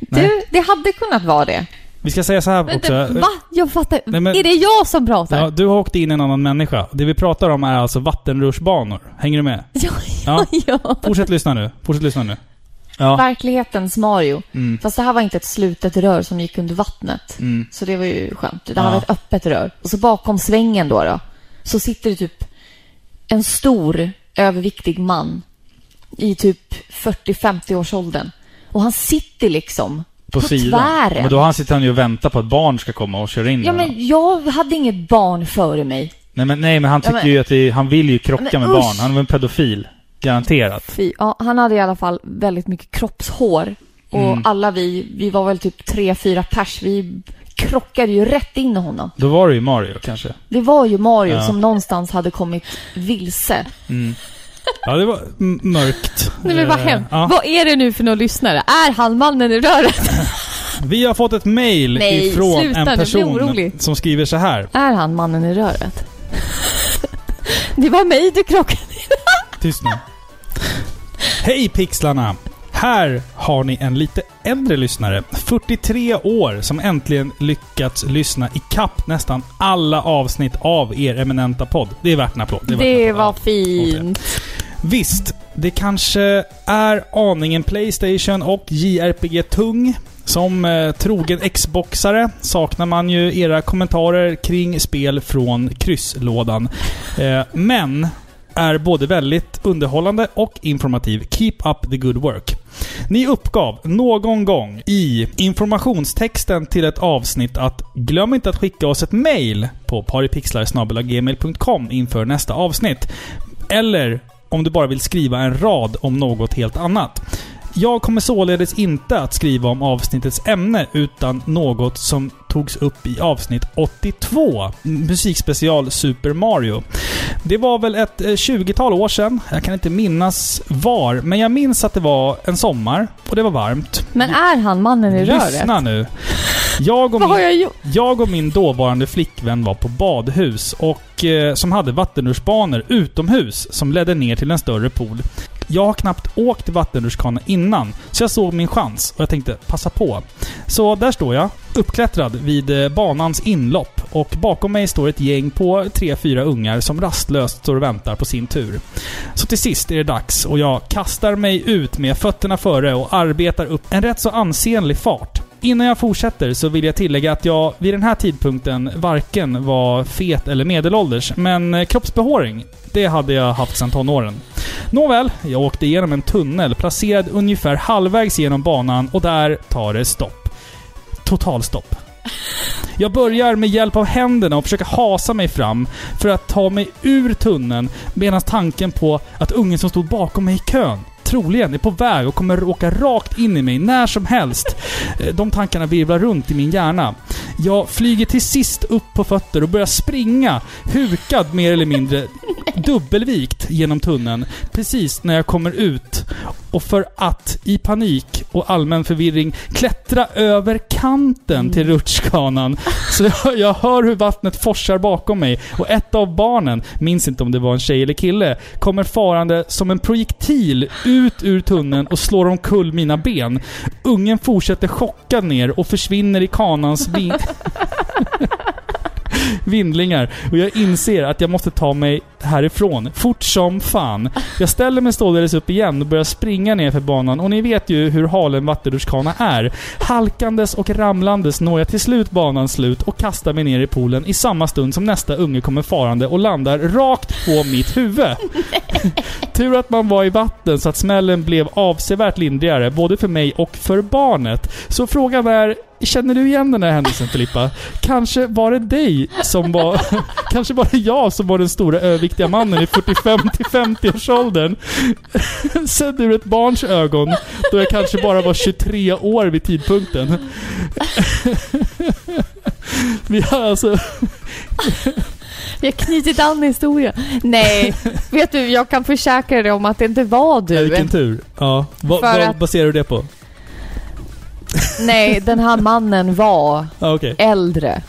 Speaker 2: Du, det hade kunnat vara det.
Speaker 1: Vi ska säga så här också.
Speaker 2: Vänta, va? Jag fattar.
Speaker 1: Nej, men-
Speaker 2: Är det jag som pratar?
Speaker 1: Ja, du har åkt in i en annan människa. Det vi pratar om är alltså vattenrutschbanor. Hänger du med?
Speaker 2: Ja,
Speaker 1: Ja.
Speaker 2: ja.
Speaker 1: Fortsätt lyssna nu. Fortsätt lyssna nu. Ja.
Speaker 2: Verklighetens Mario.
Speaker 1: Mm.
Speaker 2: Fast det här var inte ett slutet rör som gick under vattnet.
Speaker 1: Mm.
Speaker 2: Så det var ju skönt. Det här
Speaker 1: Ja.
Speaker 2: var ett öppet rör. Och så bakom svängen då, då så sitter det typ en stor överviktig man i typ 40-50 års åldern. Och han sitter liksom på, tvären.
Speaker 1: Men då har han- sitter han ju och väntar på att barn ska komma och köra in
Speaker 2: Ja,
Speaker 1: honom.
Speaker 2: men jag hade inget barn före mig.
Speaker 1: Nej, men, nej, men han tycker
Speaker 2: men-
Speaker 1: ju att det, han vill ju krocka
Speaker 2: Men
Speaker 1: med
Speaker 2: usch.
Speaker 1: barn. Han är en pedofil. Garanterat.
Speaker 2: Fy, ja, han hade i alla fall väldigt mycket kroppshår. Och alla vi, vi var väl typ tre, fyra pers, vi krockade ju rätt in i honom.
Speaker 1: Då var det ju Mario kanske.
Speaker 2: Det var ju Mario
Speaker 1: Ja.
Speaker 2: som någonstans hade kommit vilse.
Speaker 1: Ja, det var m- mörkt.
Speaker 11: Nej men vad
Speaker 1: Eh,
Speaker 11: hemskt.
Speaker 1: ja.
Speaker 11: Vad är det nu för någon lyssnare? Är han mannen i röret?
Speaker 1: Vi har fått ett mail
Speaker 11: Nej,
Speaker 1: ifrån
Speaker 11: sluta, nu blir
Speaker 1: en
Speaker 11: jag
Speaker 1: person
Speaker 11: orolig.
Speaker 1: som skriver så här.
Speaker 2: Är han mannen i röret? Det var mig du krockade.
Speaker 1: Tyst nu. Hej pixlarna! Här har ni en lite äldre lyssnare, 43 år, som äntligen lyckats lyssna i kapp nästan alla avsnitt av er eminenta podd. Det är värt en applåd. är värt en
Speaker 2: Det
Speaker 1: applåd.
Speaker 2: var fint.
Speaker 1: Visst, det kanske är aningen Playstation och JRPG-tung. Som eh, trogen Xboxare saknar man ju era kommentarer kring spel från krysslådan. Eh, men är både väldigt underhållande och informativ. Keep up the good work. Ni uppgav någon gång i informationstexten till ett avsnitt att glöm inte att skicka oss ett mail på paripixlar.gmail.com inför nästa avsnitt. Eller om du bara vill skriva en rad om något helt annat. Jag kommer således inte att skriva om avsnittets ämne utan något som togs upp i avsnitt 82, musikspecial Super Mario. Det var väl ett eh, 20-tal år sedan, jag kan inte minnas var, men jag minns att det var en sommar och det var varmt.
Speaker 2: Men är han mannen i röret?
Speaker 1: Lyssna nu. Jag och
Speaker 2: Vad
Speaker 1: min
Speaker 2: har jag gjort?
Speaker 1: jag och min dåvarande flickvän var på badhus och eh, som hade vattenrutschbanor utomhus som ledde ner till en större pool. Jag har knappt åkt vattenrutschkana innan, så jag såg min chans och jag tänkte passa på. Så där står jag, uppklättrad vid eh, banans inlopp och bakom mig står ett gäng på tre fyra ungar som rastlöst står och väntar på sin tur. Så till sist är det dags och jag kastar mig ut med fötterna före och arbetar upp en rätt så ansenlig fart. Innan jag fortsätter så vill jag tillägga att jag vid den här tidpunkten varken var fet eller medelålders, men eh, kroppsbehåring, det hade jag haft sedan tonåren. Nåväl, jag åkte igenom en tunnel placerad ungefär halvvägs genom banan och där tar det stopp. Totalstopp. Jag börjar med hjälp av händerna och försöka hasa mig fram för att ta mig ur tunneln medan tanken på att ungen som stod bakom mig i kön troligen är på väg och kommer åka rakt in i mig när som helst. Eh, De tankarna virvlar runt i min hjärna. Jag flyger till sist upp på fötter och börjar springa, hukad mer eller mindre, dubbelvikt genom tunneln, precis när jag kommer ut. Och för att, i panik och allmän förvirring, klättra över kanten till rutschkanan. Så jag, jag hör hur vattnet forsar bakom mig och ett av barnen, minns inte om det var en tjej eller kille, kommer farande som en projektil ut ur tunneln och slår omkull mina ben. Ungen fortsätter chockad ner och försvinner i kanans vin- vindlingar. Och jag inser att jag måste ta mig härifrån. Fort som fan. Jag ställer mig således upp igen och börjar springa ner för banan. Och ni vet ju hur hal en vattenrutschkana är. Halkandes och ramlandes når jag till slut banans slut och kastar mig ner i poolen i samma stund som nästa unge kommer farande och landar rakt på mitt huvud. Tur att man var i vatten så att smällen blev avsevärt lindrigare, både för mig och för barnet. Så frågan är, känner du igen den här händelsen Filippa? Kanske var det dig som var... Kanske var det jag som var den stora överviktiga mannen i 45-50-årsåldern. Sedd ur ett barns ögon, då jag kanske bara var 23 år vid tidpunkten. Vi har alltså...
Speaker 2: Vi har knutit an historien. Nej, vet du, jag kan försäkra dig om att det inte var du.
Speaker 1: Vilken tur. Ja. Vad,
Speaker 2: För
Speaker 1: vad
Speaker 2: att-
Speaker 1: baserar du det på?
Speaker 2: Nej, den här mannen var
Speaker 1: Ah, okej.
Speaker 2: äldre.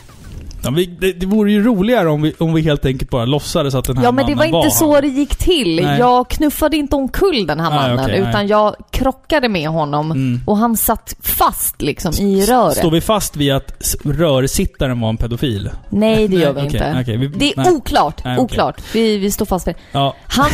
Speaker 1: Ja, vi, det, det vore ju roligare om vi, om vi helt enkelt bara låtsades att den här
Speaker 2: Ja, men det
Speaker 1: mannen
Speaker 2: var inte så
Speaker 1: han.
Speaker 2: det gick till.
Speaker 1: Nej.
Speaker 2: Jag knuffade inte omkull den här
Speaker 1: Nej,
Speaker 2: mannen,
Speaker 1: okej, nej.
Speaker 2: utan jag krockade med honom
Speaker 1: Mm.
Speaker 2: och han satt fast liksom i röret.
Speaker 1: Står vi fast vid att s- rörsittaren var en pedofil?
Speaker 2: Nej, det gör vi
Speaker 1: Nej, okej,
Speaker 2: inte.
Speaker 1: okej, vi-
Speaker 2: det är
Speaker 1: nej.
Speaker 2: oklart.
Speaker 1: Nej, okej.
Speaker 2: Oklart. Vi, vi står fast vid det.
Speaker 1: Ja.
Speaker 2: Han,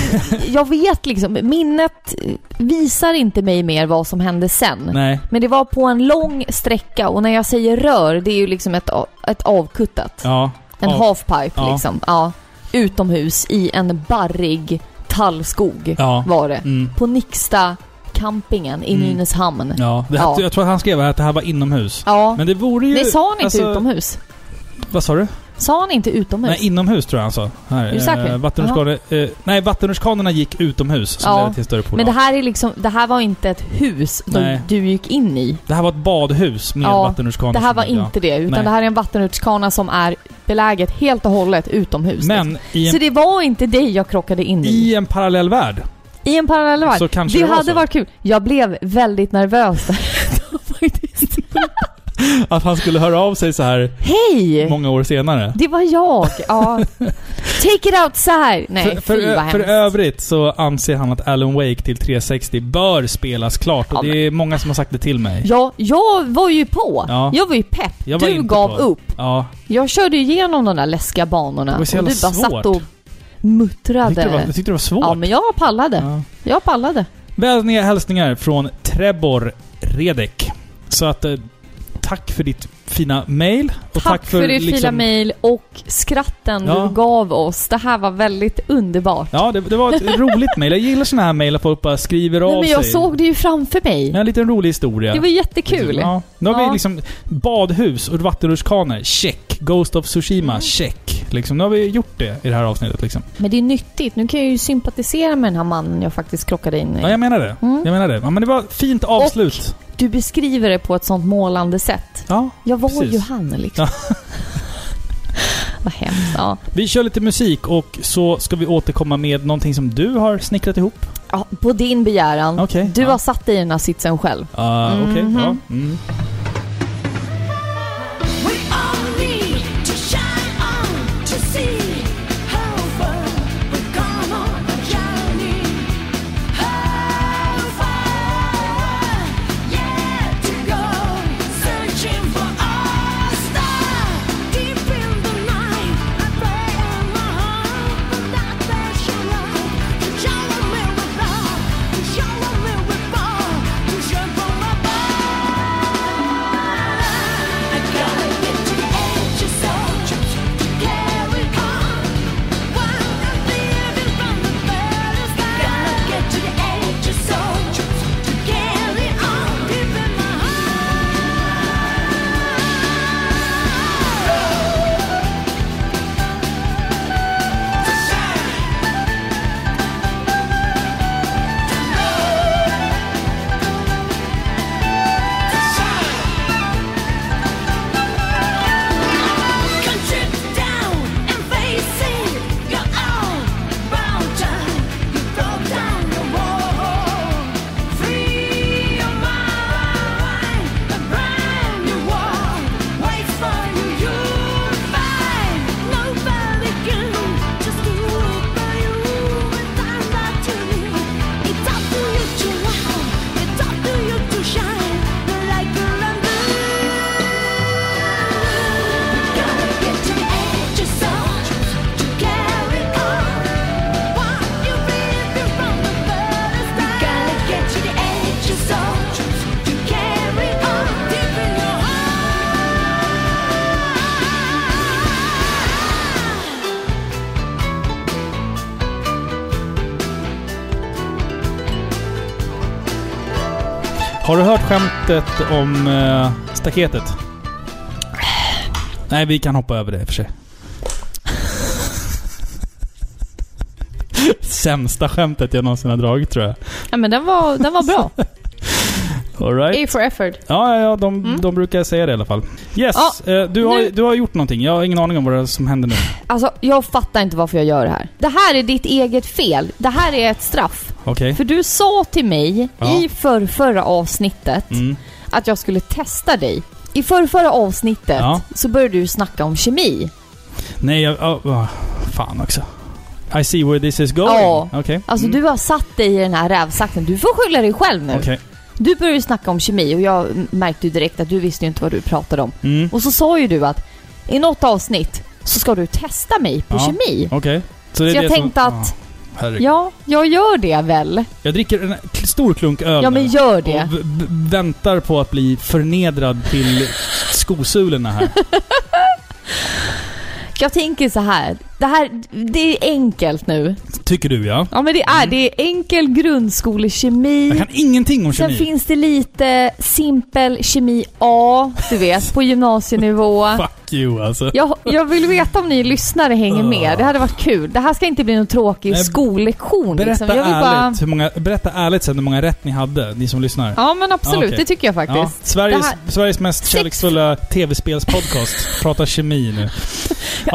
Speaker 2: jag vet liksom, minnet eh, visar inte mig mer vad som hände sen.
Speaker 1: Nej.
Speaker 2: Men det var på en lång sträcka och när jag säger rör, det är ju liksom ett, a- ett avkuttat.
Speaker 1: Ja.
Speaker 2: En
Speaker 1: ja.
Speaker 2: halfpipe
Speaker 1: Ja.
Speaker 2: liksom. Ja. utomhus i en barrig tallskog
Speaker 1: Ja.
Speaker 2: var det.
Speaker 1: Mm.
Speaker 2: På Nixta campingen i
Speaker 1: Mm.
Speaker 2: Nynäshamn. Ja.
Speaker 1: Ja, det här,
Speaker 2: Ja.
Speaker 1: Jag tror att han skrev här att det här var inomhus. Men det vore ju...
Speaker 2: det sa han inte
Speaker 1: alltså,
Speaker 2: utomhus.
Speaker 1: Vad sa du?
Speaker 2: Sa han inte utomhus?
Speaker 1: Nej, inomhus tror jag han sa. Här,
Speaker 2: Är du säker?
Speaker 1: eh, vattenrutschkanor- eh, nej, vattenrutschkanorna gick utomhus som
Speaker 2: Ja.
Speaker 1: ledde till större pool.
Speaker 2: Men det här, är liksom, det här var inte ett hus du,
Speaker 1: Nej.
Speaker 2: du gick in i.
Speaker 1: Det här var ett badhus med
Speaker 2: Ja,
Speaker 1: vattenrutschkanor.
Speaker 2: Det här
Speaker 1: som
Speaker 2: var
Speaker 1: gick, ja.
Speaker 2: inte det, utan
Speaker 1: Nej.
Speaker 2: det här är en vattenrutschkana som är beläget helt och hållet utomhus. liksom.
Speaker 1: Men i
Speaker 2: Så
Speaker 1: en,
Speaker 2: det var inte dig jag krockade in i.
Speaker 1: i en parallell värld.
Speaker 2: I en parallell värld.
Speaker 1: Så kanske
Speaker 2: det
Speaker 1: det var
Speaker 2: hade
Speaker 1: så.
Speaker 2: varit kul. Jag blev väldigt nervös där. Faktiskt.
Speaker 1: Att han skulle höra av sig så här
Speaker 2: Hej!
Speaker 1: många år senare.
Speaker 2: Det var jag. Ja. Take it outside! Nej,
Speaker 1: för, för,
Speaker 2: fy vad
Speaker 1: ö- för
Speaker 2: hemskt.
Speaker 1: övrigt så anser han att Alan Wake till 360 bör spelas klart. Och
Speaker 2: Ja,
Speaker 1: det är många som har sagt det till mig.
Speaker 2: Ja, jag var ju på.
Speaker 1: Ja.
Speaker 2: Jag var ju pepp.
Speaker 1: Jag var
Speaker 2: du
Speaker 1: inte
Speaker 2: gav
Speaker 1: på.
Speaker 2: upp.
Speaker 1: Ja,
Speaker 2: Jag körde ju igenom de där läskiga banorna
Speaker 1: Det var så
Speaker 2: och du
Speaker 1: jävla
Speaker 2: bara satt
Speaker 1: svårt.
Speaker 2: och
Speaker 1: jag tyckte, det var,
Speaker 2: muttrade.
Speaker 1: jag tyckte det var svårt.
Speaker 2: Ja, men jag pallade.
Speaker 1: Ja.
Speaker 2: Jag pallade.
Speaker 1: Vänliga hälsningar från Trebor Redek. Så att, eh, tack för ditt fina mail. Och liksom-
Speaker 2: Tack, för, ditt fina mejl och skratten
Speaker 1: Ja.
Speaker 2: du gav oss. Det här var väldigt underbart.
Speaker 1: Ja, det, det var ett roligt mail. Jag gillar såna här mail att folk bara skriver av
Speaker 2: Nej, men jag
Speaker 1: sig.
Speaker 2: såg det ju framför mig.
Speaker 1: Ja, en liten rolig historia.
Speaker 2: Det var jättekul.
Speaker 1: Ja. Nu har
Speaker 2: Ja.
Speaker 1: vi liksom badhus och vattenrutschkanor, check. Ghost of Tsushima,
Speaker 2: Mm.
Speaker 1: check. Liksom, nu har vi gjort det i det här avsnittet liksom.
Speaker 2: Men det är nyttigt. Nu kan jag ju sympatisera med den här mannen jag faktiskt krockade in i.
Speaker 1: Ja, jag menar det.
Speaker 2: Mm.
Speaker 1: Jag menar det. Ja, men det var ett fint avslut.
Speaker 2: Du beskriver det på ett sånt målande sätt.
Speaker 1: Ja.
Speaker 2: Jag var
Speaker 1: Precis.
Speaker 2: ju han liksom. Vad hemskt. Ja.
Speaker 1: Vi kör lite musik och så ska vi återkomma med någonting som du har snickrat ihop.
Speaker 2: ja, på din begäran.
Speaker 1: Okej.
Speaker 2: Du
Speaker 1: ja.
Speaker 2: har satt dig i den här sitsen själv.
Speaker 1: Ah, Okej, ja.
Speaker 2: Mhm.
Speaker 1: Mm. Har du hört skämtet om eh, staketet? Nej, vi kan hoppa över det i och för sig. Sämsta skämtet jag någonsin har dragit tror jag.
Speaker 2: Ja, men den var, den var bra.
Speaker 1: All right.
Speaker 2: A for effort.
Speaker 1: Ja, ja, ja de,
Speaker 2: Mm.
Speaker 1: de brukar säga det i alla fall. Yes,
Speaker 2: Ja,
Speaker 1: eh, du,
Speaker 2: nu-
Speaker 1: har, du har gjort någonting. Jag har ingen aning om vad det är som händer nu.
Speaker 2: Alltså, jag fattar inte varför jag gör det här. Det här är ditt eget fel. Det här är ett straff.
Speaker 1: Okej?
Speaker 2: För du sa till mig
Speaker 1: Ja.
Speaker 2: i förr, förra avsnittet
Speaker 1: Mm.
Speaker 2: att jag skulle testa dig. I förr, förra avsnittet
Speaker 1: Ja.
Speaker 2: så började du snacka om kemi.
Speaker 1: Nej, jag... ja, ja, fan också. I see where this is going.
Speaker 2: Ja.
Speaker 1: Okej.
Speaker 2: Alltså
Speaker 1: Mm.
Speaker 2: du har satt dig i den här rävsaxen. Du får skylla dig själv nu.
Speaker 1: Okej.
Speaker 2: Du började ju snacka om kemi och jag m- märkte ju direkt att du visste ju inte vad du pratade om.
Speaker 1: Mm.
Speaker 2: Och så sa ju du att i något avsnitt så ska du testa mig på
Speaker 1: Ja.
Speaker 2: kemi.
Speaker 1: Okej.
Speaker 2: Så
Speaker 1: det är
Speaker 2: jag
Speaker 1: det
Speaker 2: tänkte
Speaker 1: som,
Speaker 2: att,
Speaker 1: Ja, herregud.
Speaker 2: ja, jag gör det väl.
Speaker 1: Jag dricker en kl- stor klunk öl
Speaker 2: Ja
Speaker 1: nu
Speaker 2: men gör det.
Speaker 1: Och v- v- väntar på att bli förnedrad till skosulorna här.
Speaker 2: Jag tänker så här. Det här, det är enkelt nu.
Speaker 1: Tycker du ja.
Speaker 2: Ja men det är, det är enkel
Speaker 1: Mm. Jag
Speaker 2: grundskolekemi.
Speaker 1: kan ingenting om
Speaker 2: Sen
Speaker 1: kemi.
Speaker 2: finns det lite simpel kemi A, du vet, på gymnasienivå.
Speaker 1: Fuck you alltså.
Speaker 2: Jag, jag vill veta om ni lyssnare hänger med. Det hade varit kul. Det här ska inte bli någon tråkig
Speaker 1: Nej,
Speaker 2: skollektion.
Speaker 1: Berätta,
Speaker 2: Liksom. Jag vill bara...
Speaker 1: ärligt hur många, berätta ärligt sen hur många rätt ni hade, ni som lyssnar.
Speaker 2: Ja men absolut,
Speaker 1: Ja, okej.
Speaker 2: det tycker jag faktiskt.
Speaker 1: Ja, Sveriges,
Speaker 2: Det här-
Speaker 1: Sveriges mest
Speaker 2: Sex-
Speaker 1: kärleksfulla tv-spelspodcast. Prata kemi nu.
Speaker 2: Jag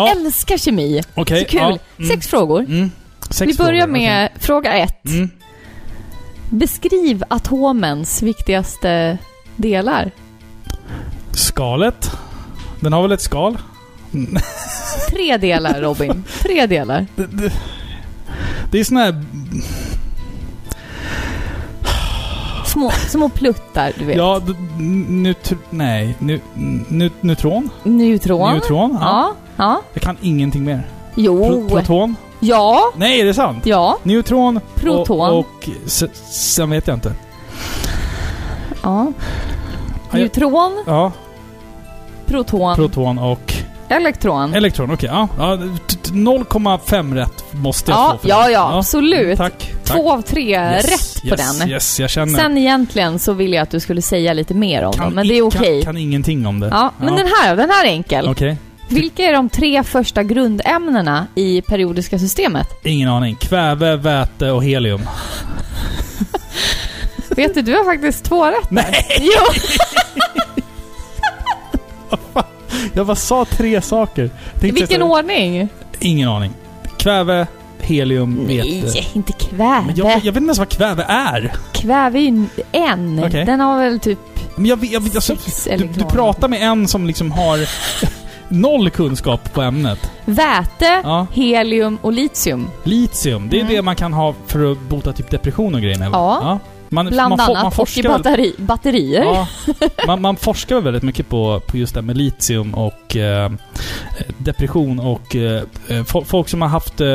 Speaker 1: Ja.
Speaker 2: älskar kemi.
Speaker 1: Okej.
Speaker 2: så kul.
Speaker 1: ja, mm,
Speaker 2: Sex frågor.
Speaker 1: mm, sex
Speaker 2: Vi börjar
Speaker 1: frågor, Mm.
Speaker 2: med fråga ett.
Speaker 1: okej. Mm.
Speaker 2: Beskriv atomens viktigaste delar.
Speaker 1: Skalet. Den har väl ett skal?
Speaker 2: Tre delar Robin. Tre delar.
Speaker 1: Det, det, det är sån här...
Speaker 2: Små, små pluttar, du vet.
Speaker 1: Ja, d- neutr, nej. Nu, nu, neutron?
Speaker 2: Neutron.
Speaker 1: Neutron? Ja.
Speaker 2: Ja. ja.
Speaker 1: Jag kan ingenting mer. Pro,
Speaker 2: Jo.
Speaker 1: proton?
Speaker 2: Ja.
Speaker 1: Nej, är det sant?
Speaker 2: Ja.
Speaker 1: Neutron
Speaker 2: Proton.
Speaker 1: och... och se- sen vet jag inte.
Speaker 2: ja.
Speaker 1: jag-
Speaker 2: Neutron,
Speaker 1: Ja,
Speaker 2: proton,
Speaker 1: proton och
Speaker 2: elektron.
Speaker 1: elektron. Okej, ja. ja t- t- 0,5 rätt måste jag
Speaker 2: Ja,
Speaker 1: få. för
Speaker 2: ja,
Speaker 1: det.
Speaker 2: ja, absolut.
Speaker 1: Tack. tack.
Speaker 2: Två av tre
Speaker 1: Yes,
Speaker 2: rätt på
Speaker 1: yes,
Speaker 2: den.
Speaker 1: Yes, jag känner.
Speaker 2: Sen egentligen så ville jag att du skulle säga lite mer om
Speaker 1: Kan
Speaker 2: dem, men
Speaker 1: i-
Speaker 2: det är okej.
Speaker 1: Kan, kan ingenting om det.
Speaker 2: Ja, men den här den här är enkel.
Speaker 1: Okej.
Speaker 2: Vilka är de tre första grundämnena i periodiska systemet?
Speaker 1: Ingen aning. Kväve, väte och helium.
Speaker 2: Vet du, du har faktiskt två rätt.
Speaker 1: Nej!
Speaker 2: Jo,
Speaker 1: Jag bara sa tre saker. Tänkte
Speaker 2: i vilken
Speaker 1: jag så-
Speaker 2: ordning?
Speaker 1: Ingen aning. Kväve, helium, vete.
Speaker 2: Nej, inte kväve.
Speaker 1: Men jag, jag vet inte ens vad kväve är.
Speaker 2: Kväve är ju en.
Speaker 1: Okej.
Speaker 2: Den har väl typ...
Speaker 1: Men jag, vet- jag, vet- alltså,
Speaker 2: Sex
Speaker 1: du, du
Speaker 2: elektroner.
Speaker 1: pratar med en som liksom har noll kunskap på ämnet.
Speaker 2: Väte,
Speaker 1: Ja.
Speaker 2: helium och litium.
Speaker 1: Litium, det är
Speaker 2: Mm.
Speaker 1: det man kan ha för att bota typ depression och grejer. eller?
Speaker 2: Ja.
Speaker 1: Man,
Speaker 2: Bland
Speaker 1: man, for- man
Speaker 2: annat. Och i
Speaker 1: forskar väl-
Speaker 2: batteri, batterier.
Speaker 1: Ja, man, man forskar väl väldigt mycket på, på just det här med litium och eh, depression och eh, fo- folk som har haft eh,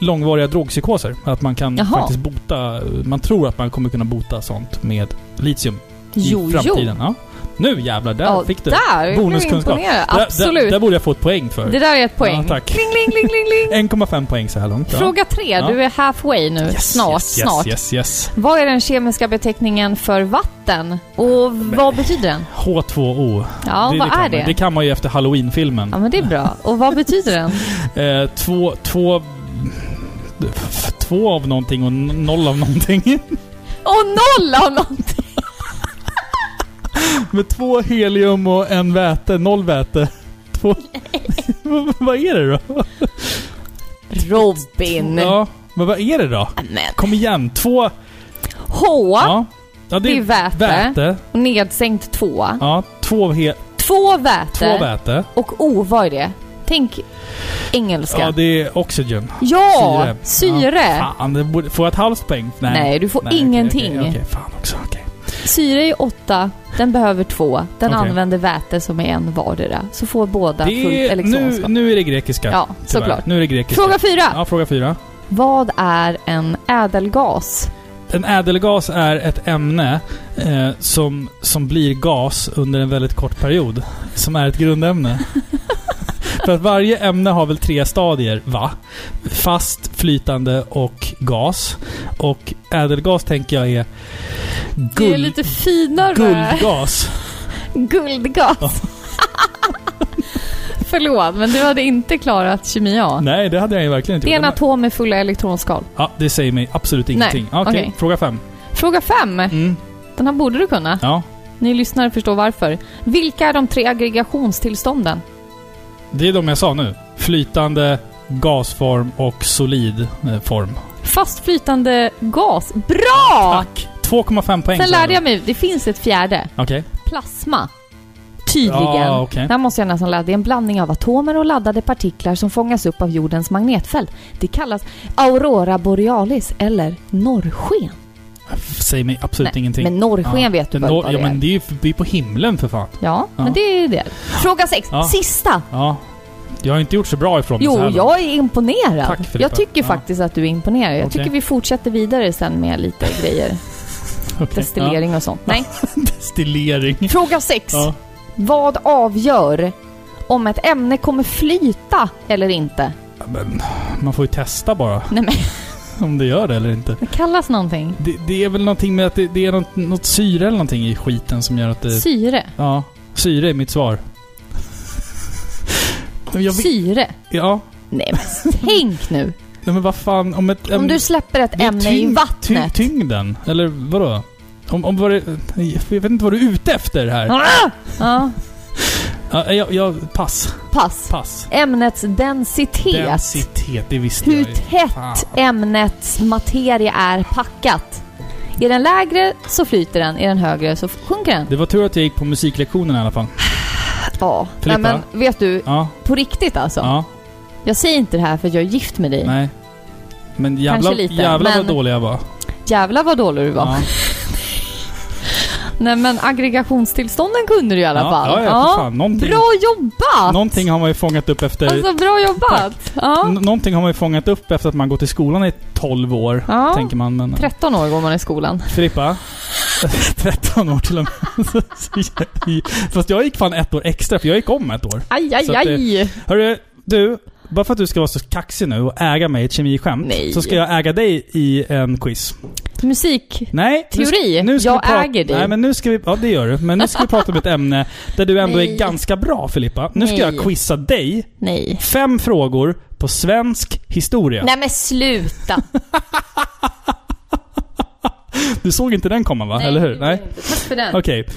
Speaker 1: långvariga drogpsykoser. Att man kan
Speaker 2: Jaha.
Speaker 1: faktiskt bota, man tror att man kommer kunna bota sånt med litium i
Speaker 2: jo, jo.
Speaker 1: framtiden. Ja. Nu jävlar, där
Speaker 2: Ja,
Speaker 1: fick du!
Speaker 2: Där! jag blev
Speaker 1: Bonuskunskap.
Speaker 2: imponerad.
Speaker 1: Där- Där,
Speaker 2: Absolut.
Speaker 1: där borde jag få ett poäng för.
Speaker 2: det där är ett poäng.
Speaker 1: Ja, tack.
Speaker 2: Kling, kling, kling, kling, kling.
Speaker 1: 1,5 poäng så här långt. ja.
Speaker 2: Fråga tre.
Speaker 1: Ja.
Speaker 2: Du är halfway nu.
Speaker 1: Yes,
Speaker 2: snart,
Speaker 1: yes, yes,
Speaker 2: snart.
Speaker 1: Yes, yes.
Speaker 2: Vad är den kemiska beteckningen för vatten? Och vad betyder den?
Speaker 1: H2O.
Speaker 2: Ja,
Speaker 1: Det-
Speaker 2: vad
Speaker 1: det kan
Speaker 2: är
Speaker 1: man-
Speaker 2: det?
Speaker 1: Det kan man ju efter halloween-filmen.
Speaker 2: Ja, men det är bra. Och vad betyder den?
Speaker 1: Eh, två, två... f- Två av någonting och n- noll av någonting.
Speaker 2: Och noll av någonting!
Speaker 1: Med två helium och en väte. Noll väte. Två... vad är det då?
Speaker 2: Robin!
Speaker 1: Ja, men vad är det då?
Speaker 2: Men.
Speaker 1: Kom igen. Två...
Speaker 2: H,
Speaker 1: Ja. ja
Speaker 2: det är väte.
Speaker 1: väte.
Speaker 2: Och nedsänkt tvåa.
Speaker 1: Ja, två, he,
Speaker 2: Två väte.
Speaker 1: två väte.
Speaker 2: Och O, vad är det? Tänk engelska.
Speaker 1: Ja, det är oxygen.
Speaker 2: Ja,
Speaker 1: syre.
Speaker 2: syre.
Speaker 1: Fan, det borde, får jag ett halvt poäng? Nej.
Speaker 2: Nej, du får
Speaker 1: Nej, okej,
Speaker 2: ingenting.
Speaker 1: Okej, okej, fan också. Okej.
Speaker 2: Syre är åtta, den behöver två. Den
Speaker 1: Okej.
Speaker 2: använder väte som är en vardera. Så får båda
Speaker 1: Det
Speaker 2: fullt
Speaker 1: är, nu,
Speaker 2: elektronskap.
Speaker 1: nu är det grekiska.
Speaker 2: ja,
Speaker 1: tyvärr.
Speaker 2: såklart.
Speaker 1: Nu är det grekiska.
Speaker 2: Fråga fyra.
Speaker 1: Ja, fråga fyra.
Speaker 2: Vad är en ädelgas?
Speaker 1: En ädelgas är ett ämne eh, som, som blir gas under en väldigt kort period. Som är ett grundämne. För att varje ämne har väl tre stadier, va? Fast, flytande och gas. Och ädelgas tänker jag är
Speaker 2: det är
Speaker 1: guld,
Speaker 2: lite finare.
Speaker 1: guldgas.
Speaker 2: Guldgas. Förlåt, men du hade inte klarat kemi A.
Speaker 1: Nej, det hade jag ju verkligen inte
Speaker 2: Det är en
Speaker 1: gjort.
Speaker 2: atom med fulla elektronskal.
Speaker 1: Ja, det säger mig absolut ingenting. Okej,
Speaker 2: okej.
Speaker 1: fråga fem.
Speaker 2: Fråga fem.
Speaker 1: Mm,
Speaker 2: Den här borde du kunna.
Speaker 1: ja.
Speaker 2: Ni lyssnare förstår varför. Vilka är de tre aggregationstillstånden?
Speaker 1: Det är de jag sa nu. Flytande, gasform och solid eh, form.
Speaker 2: Fast flytande gas. Bra!
Speaker 1: Tack! 2,5 poäng.
Speaker 2: Sen
Speaker 1: sa
Speaker 2: lärde
Speaker 1: du.
Speaker 2: jag mig, det finns ett fjärde.
Speaker 1: Okej.
Speaker 2: Plasma. Tydligen.
Speaker 1: Ja, okej.
Speaker 2: Där måste jag nästan lära. Det är en blandning av atomer och laddade partiklar som fångas upp av jordens magnetfält. Det kallas aurora borealis eller norrsken.
Speaker 1: Säg mig absolut
Speaker 2: Nej,
Speaker 1: ingenting.
Speaker 2: Men norrsken
Speaker 1: Ja.
Speaker 2: vet du
Speaker 1: Men
Speaker 2: väl
Speaker 1: då-
Speaker 2: vad
Speaker 1: ja,
Speaker 2: det är?
Speaker 1: men det är ju det är på himlen för fan.
Speaker 2: Ja,
Speaker 1: Ja.
Speaker 2: men det är ju det. Fråga sex.
Speaker 1: Ja.
Speaker 2: Sista!
Speaker 1: Ja. Jag har inte gjort så bra ifrån mig så
Speaker 2: Jo,
Speaker 1: här långt.
Speaker 2: jag är imponerad.
Speaker 1: Tack, Filippa.
Speaker 2: jag tycker
Speaker 1: Ja.
Speaker 2: faktiskt att du är imponerad. Jag
Speaker 1: Okej.
Speaker 2: tycker vi fortsätter vidare sen med lite grejer.
Speaker 1: Okej.
Speaker 2: Destillering och sånt. Nej.
Speaker 1: Ja. Destillering.
Speaker 2: Fråga sex.
Speaker 1: Ja.
Speaker 2: Vad avgör om ett ämne kommer flyta eller inte.
Speaker 1: Ja, Men man får ju testa bara
Speaker 2: Nej men,
Speaker 1: om det gör det eller inte.
Speaker 2: det kallas någonting.
Speaker 1: Det, det är väl någonting med att det, det är något, något syre eller någonting i skiten som gör att det...
Speaker 2: Syre.
Speaker 1: Ja. Syre är mitt svar. Men Jag vet,
Speaker 2: Syre.
Speaker 1: ja.
Speaker 2: Nej men tänk nu.
Speaker 1: Nej, men vad fan om ett...
Speaker 2: Om
Speaker 1: ämne-
Speaker 2: du släpper ett
Speaker 1: det är
Speaker 2: ämne i
Speaker 1: tyngd-
Speaker 2: vattnet.
Speaker 1: tyng- tyngden. Eller vadå? Om, om vad det, jag vet inte vad du är ute efter här.
Speaker 2: Ah! Ja,
Speaker 1: Ja, jag, jag, pass.
Speaker 2: pass.
Speaker 1: Pass.
Speaker 2: Ämnets densitet.
Speaker 1: Densitet, det visste
Speaker 2: Hur
Speaker 1: jag ju. Fan.
Speaker 2: tätt ämnets materia är packat. Är den lägre så flyter den, är den högre så sjunker den.
Speaker 1: Det var tur att jag gick på musiklektionen i alla fall.
Speaker 2: Ja. Nej,
Speaker 1: Filippa?
Speaker 2: men vet du,
Speaker 1: Ja,
Speaker 2: på riktigt alltså.
Speaker 1: ja,
Speaker 2: Jag säger inte det här för att jag är gift med dig.
Speaker 1: nej. Men jävlar,
Speaker 2: lite,
Speaker 1: jävlar vad
Speaker 2: men-
Speaker 1: dålig jag var.
Speaker 2: Jävlar vad dålig du var.
Speaker 1: Ja.
Speaker 2: Nej men aggregationstillstånden kunde du i alla
Speaker 1: Ja,
Speaker 2: fall.
Speaker 1: ja, ja, för fan. Någonting-
Speaker 2: Bra jobbat!
Speaker 1: Någonting har man ju fångat upp efter...
Speaker 2: Alltså bra jobbat! Ja.
Speaker 1: N- någonting har man ju fångat upp efter att man gått i skolan i 12 år,
Speaker 2: Ja.
Speaker 1: tänker man. Men,
Speaker 2: 13 år går man i skolan.
Speaker 1: Filippa? 13 år till och med. Fast jag gick fan ett år extra, för jag gick om ett år.
Speaker 2: Aj, aj,
Speaker 1: Så att det-
Speaker 2: aj!
Speaker 1: Hörru, du. Bara för att du ska vara så kaxig nu och äga mig i ett kemiskämt,
Speaker 2: Nej.
Speaker 1: så ska jag äga dig i en quiz.
Speaker 2: Musik.
Speaker 1: Nej. nu ska-
Speaker 2: Teori.
Speaker 1: Nu ska
Speaker 2: Jag
Speaker 1: vi prata,
Speaker 2: äger dig.
Speaker 1: Nej, men nu ska vi... Ja, det gör du. Men nu ska vi prata om ett ämne där du ändå
Speaker 2: Nej.
Speaker 1: är ganska bra, Filippa. Nu ska
Speaker 2: Nej.
Speaker 1: jag quizza dig.
Speaker 2: Nej.
Speaker 1: Fem frågor på svensk historia.
Speaker 2: Nej men sluta!
Speaker 1: Du såg inte den komma, va? Eller hur? Nej.
Speaker 2: Tack för den.
Speaker 1: Okej.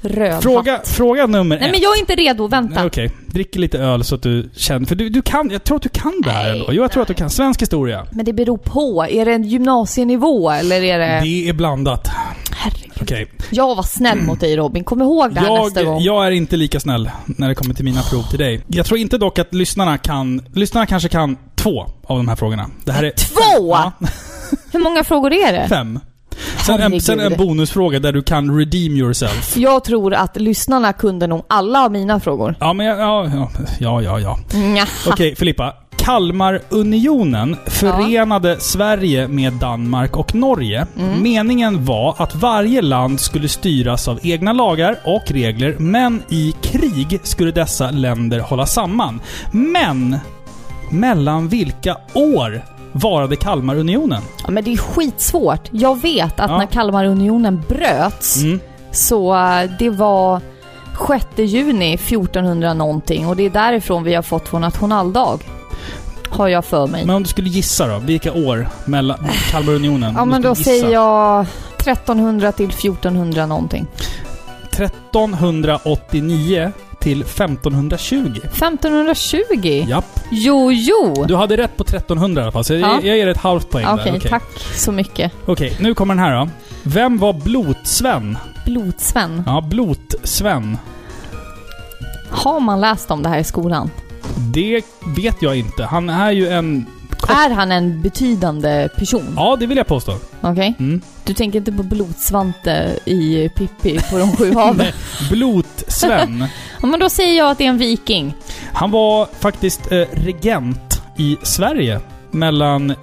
Speaker 2: Röd
Speaker 1: Fråga,
Speaker 2: hatt.
Speaker 1: fråga nummer
Speaker 2: Nej
Speaker 1: ett.
Speaker 2: men jag är inte redo, vänta.
Speaker 1: Nej, Okej, drick lite öl så att du känner... För du, du kan, jag tror att du kan det här
Speaker 2: Nej,
Speaker 1: ändå. Jo, jag tror att du kan. Svensk historia.
Speaker 2: Men det beror på. Är det en gymnasienivå eller är det...
Speaker 1: Det är blandat.
Speaker 2: Herregud.
Speaker 1: Okej.
Speaker 2: Jag var snäll mot dig Robin, kom ihåg det här nästa
Speaker 1: Jag,
Speaker 2: gång.
Speaker 1: jag är inte lika snäll när det kommer till mina prov till dig. Jag tror inte dock att lyssnarna kan... Lyssnarna kanske kan två av de här frågorna. Det här är...
Speaker 2: Två?
Speaker 1: Ja,
Speaker 2: Hur många frågor är det?
Speaker 1: fem. Sen en,
Speaker 2: Herregud.
Speaker 1: sen en bonusfråga där du kan redeem yourself.
Speaker 2: Jag tror att lyssnarna kunde nog alla av mina frågor.
Speaker 1: Ja, men jag, ja, ja, ja, ja, ja.
Speaker 2: Nja.
Speaker 1: Okej, Filippa. Kalmarunionen förenade Sverige med Danmark och Norge.
Speaker 2: Mm.
Speaker 1: Meningen var att varje land skulle styras av egna lagar och regler, men i krig skulle dessa länder hålla samman. Men mellan vilka år varade Kalmarunionen?
Speaker 2: Ja, men det är skitsvårt. Jag vet att
Speaker 1: Ja.
Speaker 2: när Kalmarunionen bröts
Speaker 1: Mm.
Speaker 2: så eh, det var 6 juni 1400 någonting och det är därifrån vi har fått vår nationaldag. Har jag för mig.
Speaker 1: Men om du skulle gissa då, vilka år mellan Kalmarunionen?
Speaker 2: ja
Speaker 1: Om du
Speaker 2: men då
Speaker 1: skulle gissa.
Speaker 2: säger jag 1300 till 1400 någonting.
Speaker 1: 1389 till 1520.
Speaker 2: 1520?
Speaker 1: Japp.
Speaker 2: Jo, jo!
Speaker 1: Du hade rätt på 1300 i alla fall, så jag,
Speaker 2: Ja.
Speaker 1: jag ger dig ett halvt poäng
Speaker 2: Okej,
Speaker 1: där. Okej.
Speaker 2: tack så mycket.
Speaker 1: Okej, nu kommer den här då. Vem var Blotsven?
Speaker 2: Blodsven.
Speaker 1: Ja, Blotsven.
Speaker 2: Har man läst om det här i skolan?
Speaker 1: Det vet jag inte. Han är ju en... Kort...
Speaker 2: Är han en betydande person?
Speaker 1: Ja, det vill jag påstå.
Speaker 2: Okej?
Speaker 1: Mm.
Speaker 2: Du tänker inte på blodsvante i Pippi på de sju haven?
Speaker 1: Nej, Blotsven.
Speaker 2: ja, men då säger jag att det är en viking.
Speaker 1: Han var faktiskt eh, regent i Sverige mellan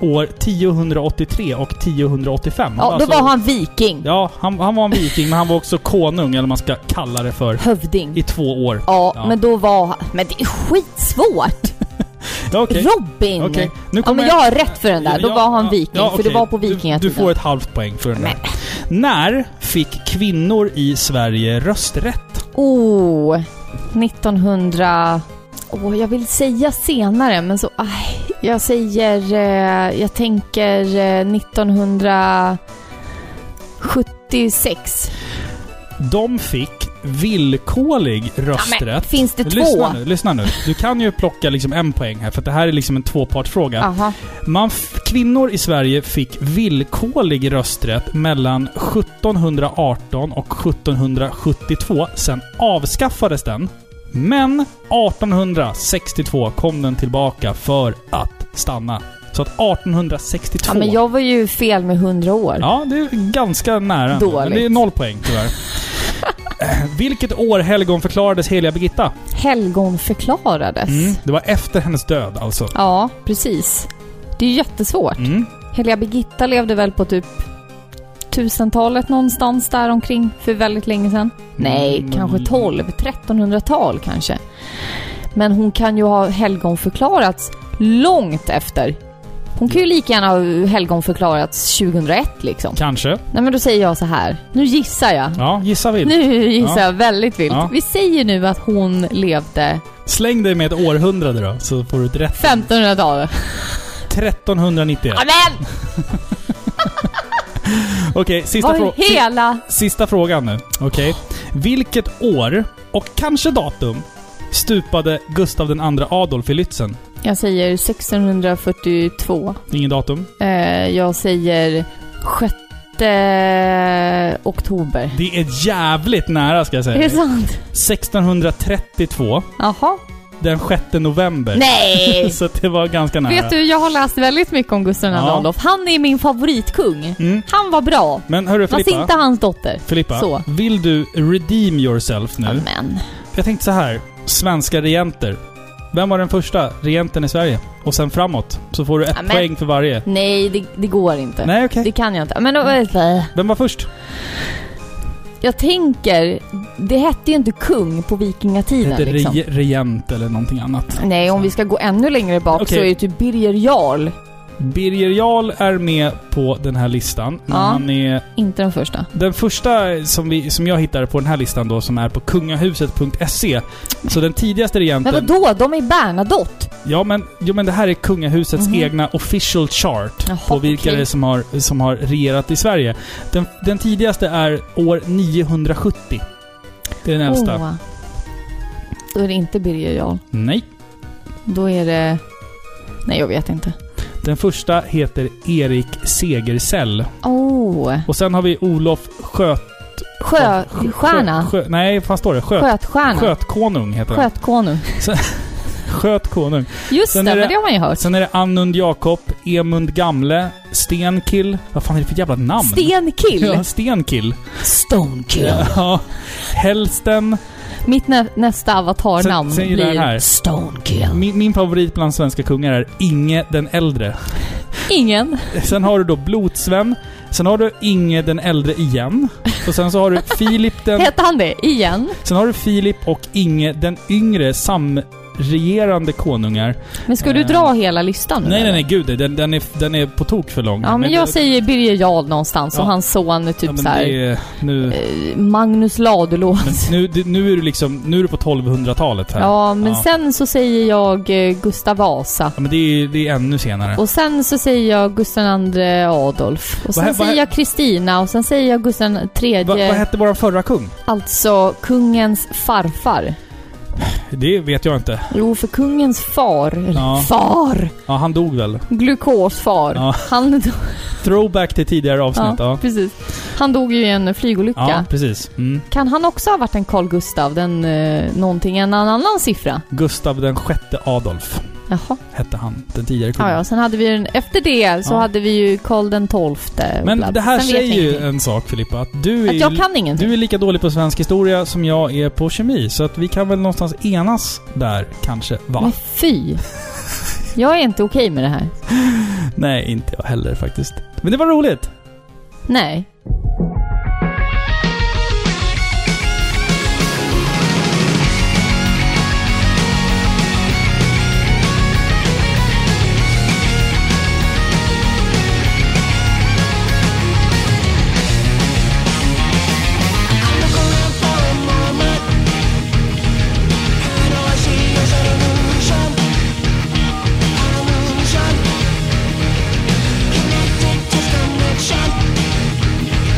Speaker 1: år 1083 och 1085.
Speaker 2: Ja, då var han viking.
Speaker 1: alltså- Ja, han, han var en viking, men han var också konung, eller vad man ska kalla det för,
Speaker 2: Hövding.
Speaker 1: i två år.
Speaker 2: Ja,
Speaker 1: Ja.
Speaker 2: men då var han... Men det är skitsvårt!
Speaker 1: Ja, okej.
Speaker 2: Robin!
Speaker 1: Okej, nu
Speaker 2: Ja, men jag har rätt för den där. Då
Speaker 1: Ja,
Speaker 2: var han
Speaker 1: ja,
Speaker 2: viking,
Speaker 1: ja,
Speaker 2: för det
Speaker 1: okej.
Speaker 2: var på
Speaker 1: Du,
Speaker 2: vikingatiden.
Speaker 1: du får ett halvt poäng för den där.
Speaker 2: Nej.
Speaker 1: När fick kvinnor i Sverige rösträtt?
Speaker 2: Oh, 1900... Åh, jag vill säga senare, men så... Aj, jag säger... Eh, jag tänker eh, 1976.
Speaker 1: De fick villkorlig rösträtt.
Speaker 2: men, finns det två?
Speaker 1: Lyssna nu, lyssna nu. Du kan ju plocka liksom en poäng här, för att det här är liksom en tvåpartsfråga.
Speaker 2: Aha.
Speaker 1: Man f- kvinnor i Sverige fick villkorlig rösträtt mellan 1718 och 1772. Sen avskaffades den. Men 1862 kom den tillbaka för att stanna. Så att 1862...
Speaker 2: Ja, men jag var ju fel med 100 år.
Speaker 1: Ja, det är ganska nära. ändå. Men det är
Speaker 2: Dåligt.
Speaker 1: noll poäng tyvärr. Eh, Vilket år helgonförklarades heliga Birgitta?
Speaker 2: Helgon förklarades.
Speaker 1: Mm, det var efter hennes död alltså.
Speaker 2: Ja, precis. Det är ju jättesvårt.
Speaker 1: Mm.
Speaker 2: Heliga Birgitta levde väl på typ 1000-talet någonstans där omkring för väldigt länge sedan. Nej,
Speaker 1: Mm.
Speaker 2: kanske 12, 1300-tal kanske. Men hon kan ju ha helgonförklarats långt efter. Hon kan ju lika gärna ha helgonförklarats 2001 liksom.
Speaker 1: Kanske.
Speaker 2: Nej men då säger jag så här. Nu gissar jag.
Speaker 1: Ja, gissa vilt.
Speaker 2: Nu gissar
Speaker 1: Ja.
Speaker 2: jag väldigt vilt.
Speaker 1: Ja.
Speaker 2: Vi säger nu att hon levde
Speaker 1: Släng dig med ett århundrade då, så får du ett rätt.
Speaker 2: 1500-talet.
Speaker 1: 1391.
Speaker 2: Amen!
Speaker 1: Okej, sista, frå-
Speaker 2: Vad hela...
Speaker 1: sista frågan nu. Okej. Vilket år, och kanske datum, stupade Gustav II Adolf i Lützen?
Speaker 2: Jag säger 1642.
Speaker 1: Ingen datum.
Speaker 2: Eh, jag säger 6 oktober.
Speaker 1: Det är jävligt nära ska jag
Speaker 2: Är det
Speaker 1: säga.
Speaker 2: sant?
Speaker 1: 1632.
Speaker 2: Jaha.
Speaker 1: Den 6 november.
Speaker 2: Nej!
Speaker 1: Så det var ganska nära.
Speaker 2: Vet du, jag har läst väldigt mycket om Gustav II
Speaker 1: Ja.
Speaker 2: Adolf. Han är min favoritkung.
Speaker 1: Mm.
Speaker 2: Han var bra.
Speaker 1: Men hörru
Speaker 2: Man ser
Speaker 1: Filippa.
Speaker 2: inte hans dotter.
Speaker 1: Filippa,
Speaker 2: Så.
Speaker 1: vill du redeem yourself nu?
Speaker 2: Amen.
Speaker 1: Jag tänkte så här. Svenska regenter. Vem var den första regenten i Sverige? Och sen framåt. Så får du ett
Speaker 2: Amen.
Speaker 1: poäng för varje.
Speaker 2: Nej, det, det går inte.
Speaker 1: Nej, Mm. okej.
Speaker 2: Det kan jag inte. Men då,
Speaker 1: Vem var först?
Speaker 2: jag tänker, det hette ju inte kung på
Speaker 1: Det
Speaker 2: vikingatiden
Speaker 1: heter
Speaker 2: liksom.
Speaker 1: rege- regent eller någonting annat.
Speaker 2: Nej, om vi ska gå ännu längre bak
Speaker 1: Okej.
Speaker 2: så är det typ Birger Jarl.
Speaker 1: Birger Jarl är med på den här listan. Men
Speaker 2: Ja.
Speaker 1: han är
Speaker 2: Inte den första.
Speaker 1: Den första som, vi, som jag hittade på den här listan då, som är på kungahuset.se. E. Så den tidigaste regenten...
Speaker 2: Men vadå? De är Bernadotte.
Speaker 1: Ja, men, jo, men det här är kungahusets
Speaker 2: Mhm.
Speaker 1: egna official chart
Speaker 2: Jaha,
Speaker 1: på vilka
Speaker 2: okej.
Speaker 1: det är som har, som har regerat i Sverige. Den, den tidigaste är år 970. Det är den äldsta.
Speaker 2: Åh. Då är det inte Birger Jarl.
Speaker 1: Nej.
Speaker 2: Då är det... Nej, jag vet inte.
Speaker 1: Den första heter Erik Segersäll.
Speaker 2: Åh. Oh.
Speaker 1: Och sen har vi Olof Sköt... Sjö-
Speaker 2: Sjöstjärna.
Speaker 1: Sjö, nej, vad står det? Sköt,
Speaker 2: Skötstjärna.
Speaker 1: skötkonung heter han.
Speaker 2: Skötkonung.
Speaker 1: Skötkonung.
Speaker 2: Just det,
Speaker 1: Sen är
Speaker 2: men
Speaker 1: det-
Speaker 2: det har man ju hört.
Speaker 1: Sen är det Annund Jakob, Emund Gamle, Stenkill. Vad fan är det för jävla namn?
Speaker 2: Stenkill.
Speaker 1: Ja, Stenkill.
Speaker 2: Stonekill.
Speaker 1: Ja. Hälsten.
Speaker 2: Mitt nä nästa avatarnamn
Speaker 1: Sen- sen är det här.
Speaker 2: blir Stonekill.
Speaker 1: Min, min favorit bland svenska kungar är Inge den äldre.
Speaker 2: Ingen.
Speaker 1: Sen har du då Blodsven. Sen har du Inge den äldre igen. Och sen så har du Filip den...
Speaker 2: Hette han det? Igen?
Speaker 1: Sen har du Filip och Inge den yngre samregerande konungar.
Speaker 2: Men ska du
Speaker 1: Eh.
Speaker 2: dra hela listan nu?
Speaker 1: Nej, nej,
Speaker 2: eller?
Speaker 1: nej, gud. Den, den, är, den är på tok för lång.
Speaker 2: Ja, men jag säger Birger Jarl någonstans
Speaker 1: Mm. Ja.
Speaker 2: och hans son är typ
Speaker 1: Ja, men
Speaker 2: så här,
Speaker 1: det är- nu...
Speaker 2: eh, Magnus
Speaker 1: Men
Speaker 2: Ladulås.
Speaker 1: nu, det- nu är du liksom, nu är du på 1200-talet här.
Speaker 2: Ja, men
Speaker 1: Ja.
Speaker 2: sen så säger jag eh, Gustav Vasa.
Speaker 1: Ja, men det är, det är ännu senare.
Speaker 2: Och sen så säger jag Gustav II Adolf. Och sen
Speaker 1: hä- vad
Speaker 2: säger
Speaker 1: hä-
Speaker 2: jag Kristina och sen säger jag Gustav III.
Speaker 1: Va, vad hette vår förra kung?
Speaker 2: alltså kungens farfar.
Speaker 1: Det vet jag inte.
Speaker 2: Jo, för kungens far. eller
Speaker 1: Ja.
Speaker 2: Far!
Speaker 1: Ja, han dog väl.
Speaker 2: Glukosfar.
Speaker 1: Ja.
Speaker 2: Han, dog,
Speaker 1: Throwback till tidigare
Speaker 2: ja,
Speaker 1: avsnitt. Ja,
Speaker 2: Precis. han dog ju i en flygolycka.
Speaker 1: ja. precis. Mm.
Speaker 2: Kan han också ha varit en Carl Gustav, den eh, någonting, en annan siffra?
Speaker 1: Gustav den sjätte Adolf
Speaker 2: Jaha.
Speaker 1: hette han, den tidigare
Speaker 2: Ja,
Speaker 1: kungen.
Speaker 2: ja, sen hade vi den, efter det så
Speaker 1: Ja.
Speaker 2: hade vi ju Karl den tolfte. och
Speaker 1: men
Speaker 2: bla-
Speaker 1: det här
Speaker 2: sen vet jag
Speaker 1: säger ju
Speaker 2: ingenting.
Speaker 1: en sak Filippa, att du är,
Speaker 2: Att
Speaker 1: ju-
Speaker 2: jag kan ingenting.
Speaker 1: du är lika dålig på svensk historia som jag är på kemi. Så att vi kan väl någonstans enas där kanske, va?
Speaker 2: Men fy! Jag är inte okej med det här.
Speaker 1: Nej, inte jag heller faktiskt. Men det var roligt.
Speaker 2: Nej.
Speaker 3: Connected disconnection.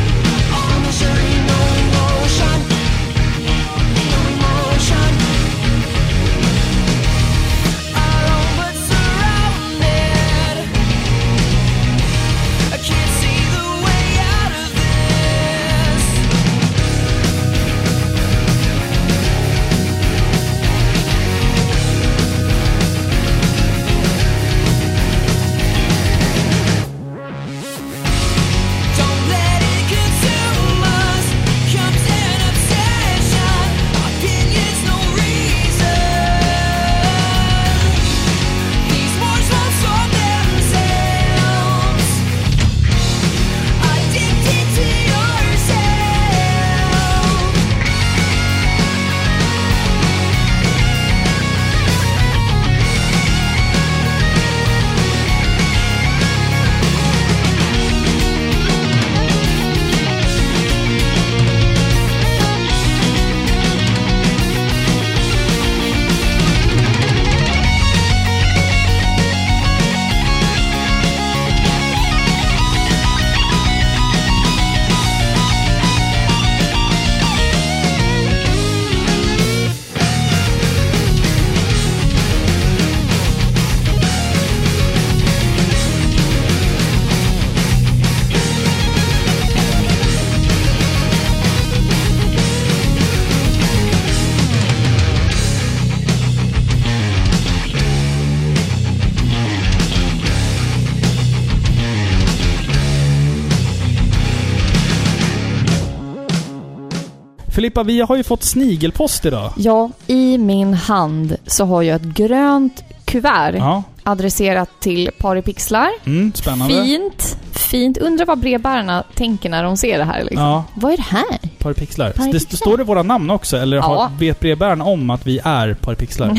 Speaker 1: Filippa, vi har ju fått snigelpost idag.
Speaker 2: Ja, i min hand så har jag ett grönt kuvert
Speaker 1: Ja.
Speaker 2: adresserat till Paripixlar.
Speaker 1: Mm, spännande.
Speaker 2: Fint, fint. Undrar vad brevbärarna tänker när de ser det här liksom.
Speaker 1: Ja,
Speaker 2: Vad är det här?
Speaker 1: parapixlar.
Speaker 2: Parapixlar.
Speaker 1: Det st- står det våra namn också, eller har,
Speaker 2: Ja. Mm.
Speaker 1: vet brevbäraren om att vi är parapixlar?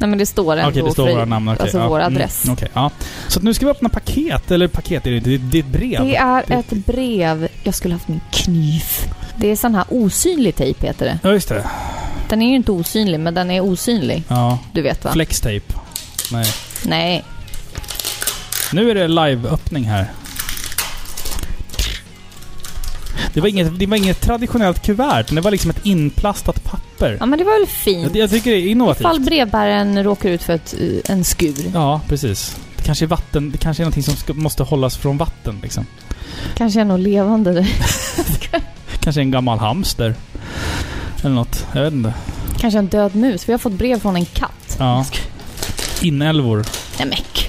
Speaker 2: Nej men det står ändå
Speaker 1: Okej, det står
Speaker 2: fri-
Speaker 1: våra namn. okej,
Speaker 2: alltså
Speaker 1: ja.
Speaker 2: vår
Speaker 1: Mm,
Speaker 2: adress.
Speaker 1: okej, ja. Så att nu ska vi öppna paket, eller paket är det inte, det, det är ett brev.
Speaker 2: Det är ett brev. Jag skulle haft min kniv. Det är sån här osynlig tejp heter det.
Speaker 1: Ja, just det.
Speaker 2: Den är ju inte osynlig, men den är osynlig.
Speaker 1: Ja.
Speaker 2: Du vet va?
Speaker 1: Flextape. Nej.
Speaker 2: Nej.
Speaker 1: Nu är det liveöppning här. Det var, inget, det var inget traditionellt kuvert, men det var liksom ett inplastat papper.
Speaker 2: Ja men det var väl
Speaker 1: Jag,
Speaker 2: fint.
Speaker 1: jag tycker det är
Speaker 2: Ifall
Speaker 1: innovativt.
Speaker 2: brevbäraren råkar ut för ett, eh, en skur.
Speaker 1: Ja, precis. Det kanske är vatten, det kanske är någonting som ska, måste hållas från vatten liksom.
Speaker 2: Kanske är något levande.
Speaker 1: Kanske en gammal hamster. Eller något. Jag vet inte.
Speaker 2: Kanske en död mus. Vi har fått brev från en katt.
Speaker 1: Ja. Inälvor.
Speaker 2: Nej men gud.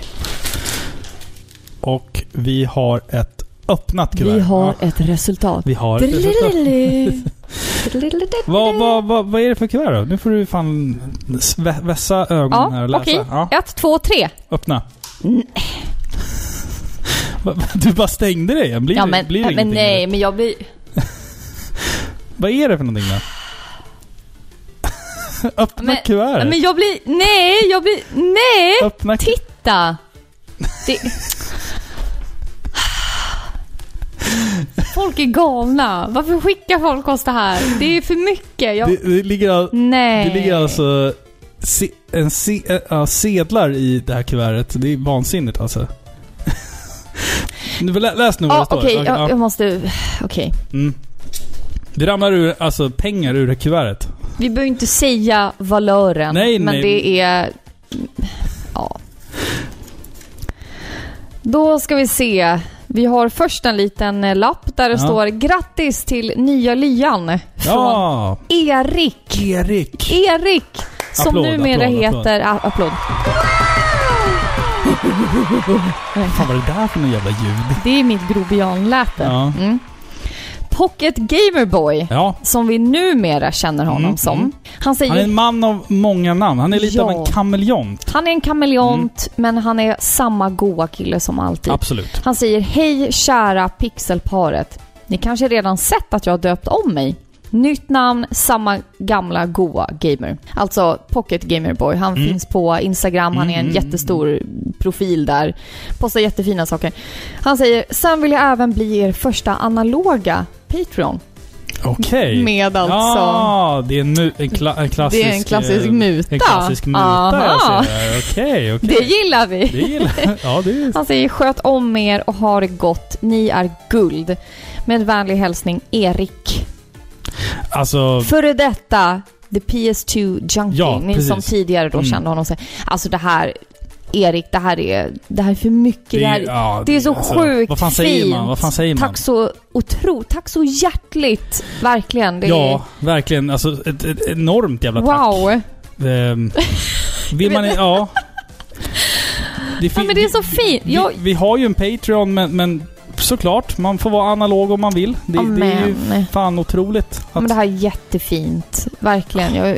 Speaker 1: Och vi har ett öppnat kuvert.
Speaker 2: Vi har
Speaker 1: Ja,
Speaker 2: ett resultat.
Speaker 1: vi har ett resultat.
Speaker 2: Drillilili.
Speaker 1: Vad, vad, vad, vad är det för kuvert då? Nu får du fan svä- vässa ögonen här
Speaker 2: Ja,
Speaker 1: och läsa.
Speaker 2: okej.
Speaker 1: Ja,
Speaker 2: Ett, två, tre.
Speaker 1: öppna. Va- va- Du bara stängde dig igen. Blir,
Speaker 2: Ja
Speaker 1: det-
Speaker 2: men,
Speaker 1: blir det
Speaker 2: men
Speaker 1: ingenting
Speaker 2: nej,
Speaker 1: nu?
Speaker 2: men jag blir...
Speaker 1: Vad är det för någonting då? Öppna
Speaker 2: Men-
Speaker 1: kuvertet.
Speaker 2: Men jag blir... Nej, jag blir... Nej!
Speaker 1: Öppna ku-
Speaker 2: Titta! Det... Folk är galna. Varför skickar folk oss det här? Det är för mycket. Jag...
Speaker 1: det, det ligger all,
Speaker 2: Nej.
Speaker 1: Det ligger alltså se, en se, äh, ja, sedlar i det här kuvertet. Det är vansinnigt alltså. nu, lä, läs nu vad
Speaker 2: Ja,
Speaker 1: det står.
Speaker 2: Ah, okej.
Speaker 1: Okej, ja.
Speaker 2: jag, jag måste... Okej.
Speaker 1: Mm. Det ramlar ur, alltså pengar ur det här kuvertet.
Speaker 2: Vi behöver inte säga valören,
Speaker 1: Nej,
Speaker 2: men
Speaker 1: nej.
Speaker 2: det är... Ja. Då ska vi se. Vi har först en liten eh, lapp där det
Speaker 1: Ja.
Speaker 2: står “Grattis till nya lyan” från
Speaker 1: Ja!
Speaker 2: Erik.
Speaker 1: Erik!
Speaker 2: Erik! Som
Speaker 1: Applåd,
Speaker 2: numera
Speaker 1: applåd, applåd.
Speaker 2: heter... Applåd. applåd.
Speaker 1: Fan vad är det där för något jävla ljud?
Speaker 2: Det är mitt grobianläte.
Speaker 1: Ja.
Speaker 2: Mm. Pocket Gamerboy,
Speaker 1: Ja.
Speaker 2: som vi numera känner honom
Speaker 1: Mm, mm.
Speaker 2: som. Han säger
Speaker 1: Han är en man av många namn. Han är lite
Speaker 2: Ja.
Speaker 1: av en kameleont.
Speaker 2: Han är en kameleont,
Speaker 1: Mm.
Speaker 2: men han är samma goa kille som alltid.
Speaker 1: Absolut.
Speaker 2: Han säger Hej kära pixelparet. Ni kanske redan sett att jag har döpt om mig? Nytt namn, samma gamla goa gamer. Alltså Pocket Gamerboy. Han
Speaker 1: Mm.
Speaker 2: finns på Instagram, han är en
Speaker 1: Mm, mm,
Speaker 2: jättestor profil där. Postar jättefina saker. Han säger Sen vill jag även bli er första analoga Patreon.
Speaker 1: Okej.
Speaker 2: Med alltså...
Speaker 1: Ja, det är en, mu- en, kla- en klassisk...
Speaker 2: Det är en klassisk
Speaker 1: eh,
Speaker 2: muta.
Speaker 1: En klassisk muta.
Speaker 2: Aha.
Speaker 1: jag ser här. Okej, okej.
Speaker 2: Det gillar vi!
Speaker 1: Det gillar Ja, det är...
Speaker 2: Han säger sköt om er och ha det gott. Ni är guld. Med vänlig hälsning Erik.
Speaker 1: Alltså...
Speaker 2: Före detta The PS2 Junkie.
Speaker 1: Ja,
Speaker 2: Ni
Speaker 1: precis.
Speaker 2: som tidigare då
Speaker 1: Mm.
Speaker 2: kände honom. så- Alltså det här, Erik, det här är, det här är för mycket. Det, här,
Speaker 1: ja,
Speaker 2: det är så
Speaker 1: alltså,
Speaker 2: sjukt
Speaker 1: Vad fan säger
Speaker 2: fint.
Speaker 1: man? Vad fan säger man?
Speaker 2: Tack så otro, tack så hjärtligt. Verkligen. Det
Speaker 1: Ja, verkligen. Alltså ett, ett enormt jävla
Speaker 2: är,
Speaker 1: tack.
Speaker 2: wow.
Speaker 1: Ehm, vill man... Ja. Det
Speaker 2: Ja,
Speaker 1: fin-
Speaker 2: men det är så fint.
Speaker 1: Vi,
Speaker 2: Jag,
Speaker 1: vi har ju en Patreon, men, men såklart, man får vara analog om man vill. Det, det är ju
Speaker 2: amen.
Speaker 1: fan otroligt. Att,
Speaker 2: Men det här är jättefint. Verkligen. Jag,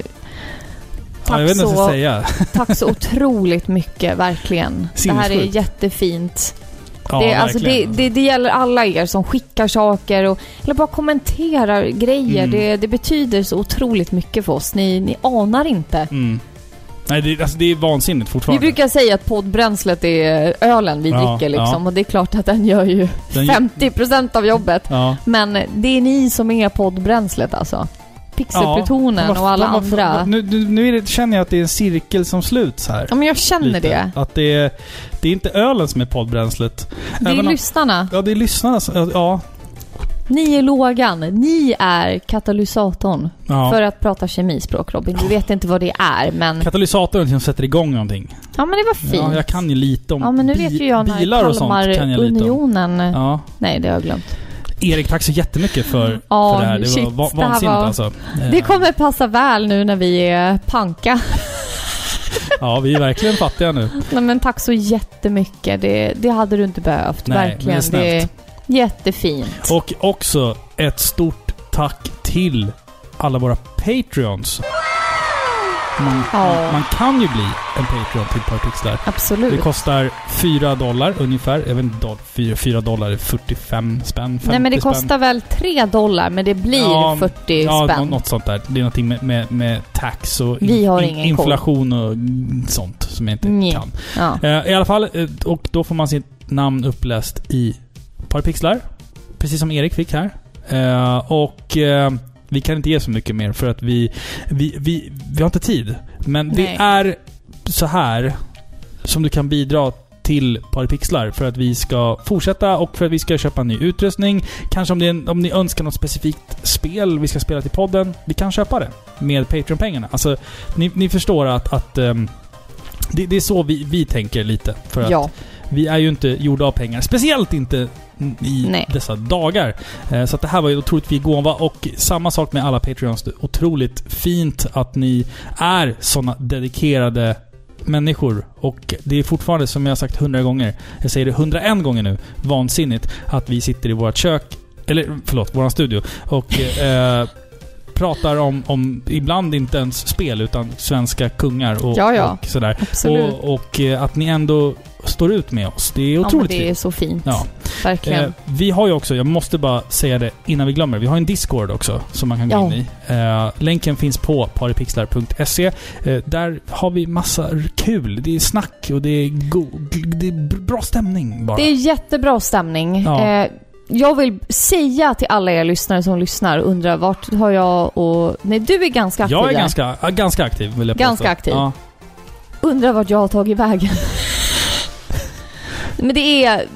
Speaker 1: ja, jag vet inte vad jag ska säga.
Speaker 2: Tack så otroligt mycket, verkligen. Det här är
Speaker 1: Sinnessjukt.
Speaker 2: jättefint.
Speaker 1: Ja,
Speaker 2: det, alltså, det,
Speaker 1: verkligen.
Speaker 2: det, det gäller alla er som skickar saker och, eller bara kommenterar grejer.
Speaker 1: Mm.
Speaker 2: Det, det betyder så otroligt mycket för oss. Ni, ni anar inte.
Speaker 1: Mm. Nej, det, alltså, det är vansinnigt
Speaker 2: Vi
Speaker 1: fortfarande.
Speaker 2: brukar säga att poddbränslet är ölen vi
Speaker 1: Ja,
Speaker 2: dricker liksom
Speaker 1: ja.
Speaker 2: och det är klart att den gör ju
Speaker 1: Den-
Speaker 2: 50% av jobbet.
Speaker 1: Ja.
Speaker 2: Men det är ni som är poddbränslet alltså.
Speaker 1: Men
Speaker 2: Pixelplutonen
Speaker 1: vad-
Speaker 2: och alla
Speaker 1: vad- vad-
Speaker 2: andra.
Speaker 1: Nu, nu, nu är det, känner jag att det är en cirkel som sluts här.
Speaker 2: Ja men jag känner
Speaker 1: Lite.
Speaker 2: det.
Speaker 1: Att det är, det är inte ölen som är poddbränslet.
Speaker 2: Det är
Speaker 1: Även om-
Speaker 2: lyssnarna.
Speaker 1: Ja, det är lyssnarna som... Ja.
Speaker 2: Ni är lågan. Ni är katalysatorn.
Speaker 1: ja.
Speaker 2: För att prata kemispråk Robin. Du vet inte vad det är men...
Speaker 1: Katalysatorn som sätter igång någonting.
Speaker 2: Ja men det var fint.
Speaker 1: Ja, jag kan ju lite om
Speaker 2: Ja, men nu
Speaker 1: bi-
Speaker 2: vet ju jag
Speaker 1: bilar
Speaker 2: när
Speaker 1: och sånt. Kan jag lite om.
Speaker 2: Kalmarunionen...
Speaker 1: Ja.
Speaker 2: Nej det har jag glömt.
Speaker 1: Erik, tack så jättemycket för,
Speaker 2: Ja,
Speaker 1: för det här. Det
Speaker 2: shit,
Speaker 1: var va-
Speaker 2: det här
Speaker 1: vansinnigt
Speaker 2: var-
Speaker 1: alltså. Eh,
Speaker 2: Det kommer passa väl nu när vi är panka.
Speaker 1: Ja, vi är verkligen fattiga nu.
Speaker 2: Nej men tack så jättemycket. Det, det hade du inte behövt.
Speaker 1: Nej, men det är
Speaker 2: verkligen.
Speaker 1: snällt.
Speaker 2: jättefint.
Speaker 1: Och också ett stort tack till alla våra Patreons. Man, man, man kan ju bli en Patreon till Parpixlar.
Speaker 2: Absolut.
Speaker 1: Det kostar 4 dollar ungefär. Jag vet inte, 4, 4 dollar är 45 spänn, 50
Speaker 2: Nej men det
Speaker 1: spänn.
Speaker 2: kostar väl 3 dollar, men det blir 40
Speaker 1: ja, nå-
Speaker 2: spänn.
Speaker 1: något sånt där. Det är någonting med, med, med tax och in-
Speaker 2: Vi har
Speaker 1: in-
Speaker 2: ingen koll.
Speaker 1: inflation och mm, sånt som jag inte
Speaker 2: Nej.
Speaker 1: kan.
Speaker 2: Ja.
Speaker 1: Eh, I alla fall, eh, och då får man sitt namn uppläst i ett par pixlar. Precis som Erik fick här. Eh, och eh, vi kan inte ge så mycket mer för att vi, vi, vi, vi har inte tid. Men det
Speaker 2: Nej.
Speaker 1: är så här som du kan bidra till par pixlar för att vi ska fortsätta och för att vi ska köpa ny utrustning. Kanske om, det är en, om ni önskar något specifikt spel vi ska spela till podden. Vi kan köpa det med Patreon-pengarna. Alltså, ni, ni förstår att, att ehm, det, det är så vi, vi tänker lite. För att
Speaker 2: ja.
Speaker 1: vi är ju inte gjorda av pengar. Speciellt inte i
Speaker 2: Nej.
Speaker 1: dessa dagar. Eh, Så att det här var ju en otroligt vid gåva. Och samma sak med alla Patreons. Det är Otroligt fint att ni är såna dedikerade människor. Och det är fortfarande, som jag har sagt hundra gånger, jag säger det 101 gånger nu, vansinnigt att vi sitter i vårt kök, eller förlåt, våran studio, och eh, pratar om, om, ibland inte ens spel, utan svenska kungar och,
Speaker 2: Ja, ja.
Speaker 1: och sådär.
Speaker 2: Absolut.
Speaker 1: Och, och eh, att ni ändå står ut med oss. Det är
Speaker 2: ja, men
Speaker 1: otroligt
Speaker 2: det är
Speaker 1: fint.
Speaker 2: så fint.
Speaker 1: Ja.
Speaker 2: Verkligen.
Speaker 1: Eh, vi har ju också, jag måste bara säga det innan vi glömmer, vi har en Discord också som man kan gå
Speaker 2: Ja.
Speaker 1: in i. Eh, länken finns på paripixlar.se. Eh, där har vi massa kul. Det är snack och det är, go- det är bra stämning bara.
Speaker 2: Det är jättebra stämning.
Speaker 1: Ja.
Speaker 2: Eh, jag vill säga till alla er lyssnare som lyssnar och undrar vart har jag och... Nej, du är ganska aktiv
Speaker 1: jag är
Speaker 2: där.
Speaker 1: ganska, äh, ganska aktiv vill jag
Speaker 2: Ganska
Speaker 1: påstå.
Speaker 2: aktiv.
Speaker 1: Ja.
Speaker 2: Undrar vart jag har tagit vägen. Men det är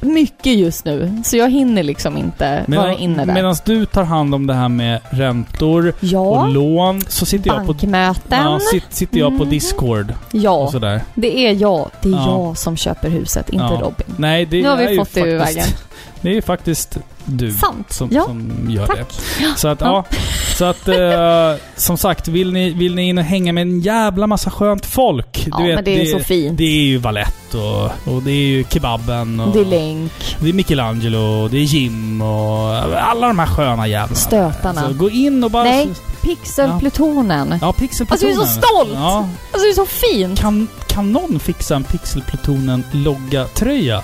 Speaker 2: mycket just nu, så jag hinner liksom inte vara inne där.
Speaker 1: Medan du tar hand om det här med räntor och
Speaker 2: ja,
Speaker 1: lån så sitter jag på,
Speaker 2: bankmöten.
Speaker 1: ja, sit, sitter jag på
Speaker 2: Mm.
Speaker 1: Discord och
Speaker 2: Ja,
Speaker 1: sådär.
Speaker 2: det är jag. Det är
Speaker 1: Ja.
Speaker 2: jag som köper huset, inte
Speaker 1: Ja.
Speaker 2: Robin.
Speaker 1: Nej, det
Speaker 2: Nu har vi
Speaker 1: är ju
Speaker 2: fått det ur
Speaker 1: faktiskt-
Speaker 2: vägen.
Speaker 1: Det är ju faktiskt du
Speaker 2: Sant.
Speaker 1: som,
Speaker 2: ja,
Speaker 1: som gör
Speaker 2: tack.
Speaker 1: det. Så att, ja. Så att, eh, som sagt, vill ni, vill ni in och hänga med en jävla massa skönt folk?
Speaker 2: Ja, men det är så fint.
Speaker 1: det är ju Valett och, och det är ju Kebaben och
Speaker 2: Det är Link,
Speaker 1: det är Michelangelo och det är Jim och alla de här sköna jävlarna.
Speaker 2: Stötarna.
Speaker 1: Så gå in och bara...
Speaker 2: Nej.
Speaker 1: Ja.
Speaker 2: Pixelplutonen.
Speaker 1: Ja, pixelplutonen.
Speaker 2: Alltså jag är så stolt!
Speaker 1: Ja.
Speaker 2: Alltså det är så fint!
Speaker 1: Kan, kan någon fixa en Pixelplutonen-logga-tröja?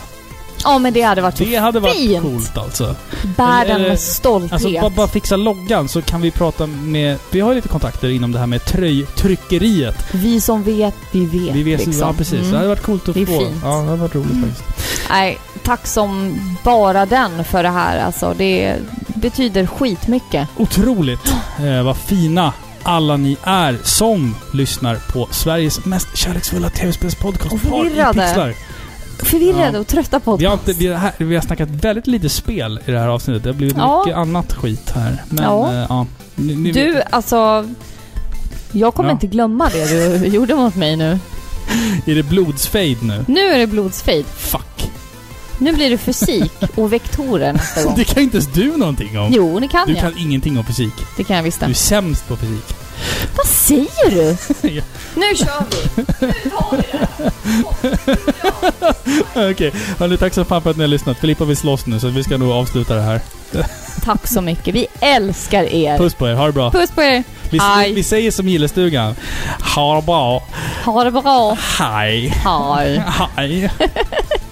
Speaker 2: Ja men det hade varit
Speaker 1: Det hade varit
Speaker 2: Fint.
Speaker 1: coolt alltså.
Speaker 2: Bär den
Speaker 1: Eller-
Speaker 2: med stolthet.
Speaker 1: Alltså bara, bara fixa loggan så kan vi prata med... Vi har ju lite kontakter inom det här med tröjtryckeriet.
Speaker 2: vi som vet, vi vet.
Speaker 1: Vi vet
Speaker 2: liksom.
Speaker 1: Ja, precis.
Speaker 2: Mm.
Speaker 1: Det hade varit coolt att
Speaker 2: Det är
Speaker 1: få.
Speaker 2: fint.
Speaker 1: Ja, det hade varit roligt
Speaker 2: Mm.
Speaker 1: faktiskt.
Speaker 2: Nej, tack som bara den för det här alltså. Det betyder skitmycket.
Speaker 1: Otroligt eh, vad fina alla ni är som lyssnar på Sveriges mest kärleksfulla tv-spelspodcast.
Speaker 2: Och
Speaker 1: Par i
Speaker 2: förvirrade.
Speaker 1: pixlar.
Speaker 2: Förvirrade
Speaker 1: Ja.
Speaker 2: och trötta på
Speaker 1: Vi har, inte, vi, har här, vi har snackat väldigt lite spel i det här avsnittet. Det har blivit
Speaker 2: Ja.
Speaker 1: mycket annat skit här. Men
Speaker 2: Ja.
Speaker 1: ja, eh, ja. Ni, ni vet.
Speaker 2: Du, alltså... Jag kommer
Speaker 1: Ja.
Speaker 2: inte glömma det du gjorde mot mig nu.
Speaker 1: är det blodsfejd nu?
Speaker 2: Nu är det blodsfejd.
Speaker 1: Fuck.
Speaker 2: Nu blir det fysik och vektorer nästa gång.
Speaker 1: Det kan inte ens du någonting om.
Speaker 2: Jo, det kan
Speaker 1: Du
Speaker 2: jag.
Speaker 1: kan ingenting om fysik.
Speaker 2: Det kan jag visst.
Speaker 1: Du är sämst på fysik.
Speaker 2: Vad säger du?
Speaker 1: Ja.
Speaker 2: Nu kör vi! Nu tar vi det!
Speaker 1: Okej, hörni, tack så fan för att ni har lyssnat. Filippa vill slåss nu så vi ska nog avsluta det här.
Speaker 2: Tack så mycket. Vi älskar er.
Speaker 1: Puss på er, ha det bra.
Speaker 2: Puss på er.
Speaker 1: Vi,
Speaker 2: Hej.
Speaker 1: vi, vi säger som gillestugan. Ha det bra.
Speaker 2: Ha det bra. 啊
Speaker 1: Hej.
Speaker 2: Hej.
Speaker 1: Hej.